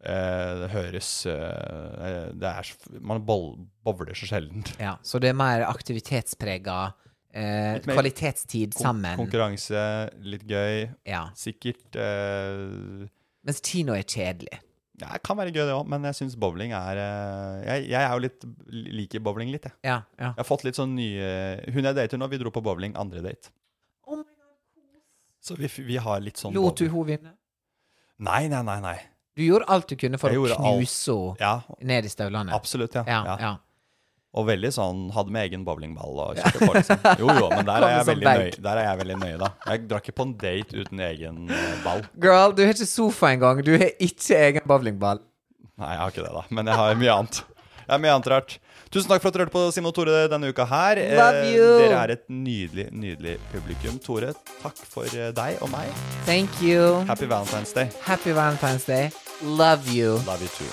[SPEAKER 2] Eh, det høres eh, Det er så- Man bol- bowler så sjelden.
[SPEAKER 3] Ja, så det er mer aktivitetsprega eh,
[SPEAKER 2] mer
[SPEAKER 3] kvalitetstid
[SPEAKER 2] Kon-
[SPEAKER 3] sammen.
[SPEAKER 2] Konkurranse, litt gøy.
[SPEAKER 3] ja.
[SPEAKER 2] Sikkert eh,
[SPEAKER 3] Mens kino er kjedelig.
[SPEAKER 2] ja, Det kan være gøy, det òg, men jeg syns bowling er eh, jeg, jeg er jo litt liker bowling litt, jeg.
[SPEAKER 3] Ja, ja.
[SPEAKER 2] Jeg har fått litt sånn nye Hun jeg dater nå, vi dro på bowling andre date.
[SPEAKER 3] Oh my God.
[SPEAKER 2] Så vi, vi har litt sånn
[SPEAKER 3] Lot du
[SPEAKER 2] bowling.
[SPEAKER 3] henne vinne?
[SPEAKER 2] Nei, nei, nei. nei.
[SPEAKER 3] Du gjorde alt du kunne for
[SPEAKER 2] Jeg
[SPEAKER 3] å
[SPEAKER 2] gjorde alt.
[SPEAKER 3] knuse henne
[SPEAKER 2] Ja,
[SPEAKER 3] ned i støvlene.
[SPEAKER 2] absolutt. Ja.
[SPEAKER 3] Ja,
[SPEAKER 2] ja.
[SPEAKER 3] ja.
[SPEAKER 2] Og veldig sånn Hadde med egen bowlingball
[SPEAKER 3] (laughs)
[SPEAKER 2] og kjørte på, liksom. Jo, jo, men der er
[SPEAKER 3] Kom
[SPEAKER 2] jeg
[SPEAKER 3] som
[SPEAKER 2] veldig
[SPEAKER 3] bag.
[SPEAKER 2] nøye, der er jeg veldig nøye da. Jeg drar ikke på en date uten egen eh, ball.
[SPEAKER 3] Girl, du har ikke sofa engang. Du har ikke egen bowlingball.
[SPEAKER 2] Nei, jeg har ikke det, da. Men jeg har mye annet. Det er mye annet rart. Tusen takk for at du hørte på Simen og Tore denne uka her. Eh,
[SPEAKER 3] Love you.
[SPEAKER 2] Dere er et nydelig, nydelig publikum. Tore, takk for eh, deg og meg.
[SPEAKER 3] Thank you.
[SPEAKER 2] Happy Valentine's Day.
[SPEAKER 3] Happy Valentine's Day. Love you.
[SPEAKER 2] Love you too.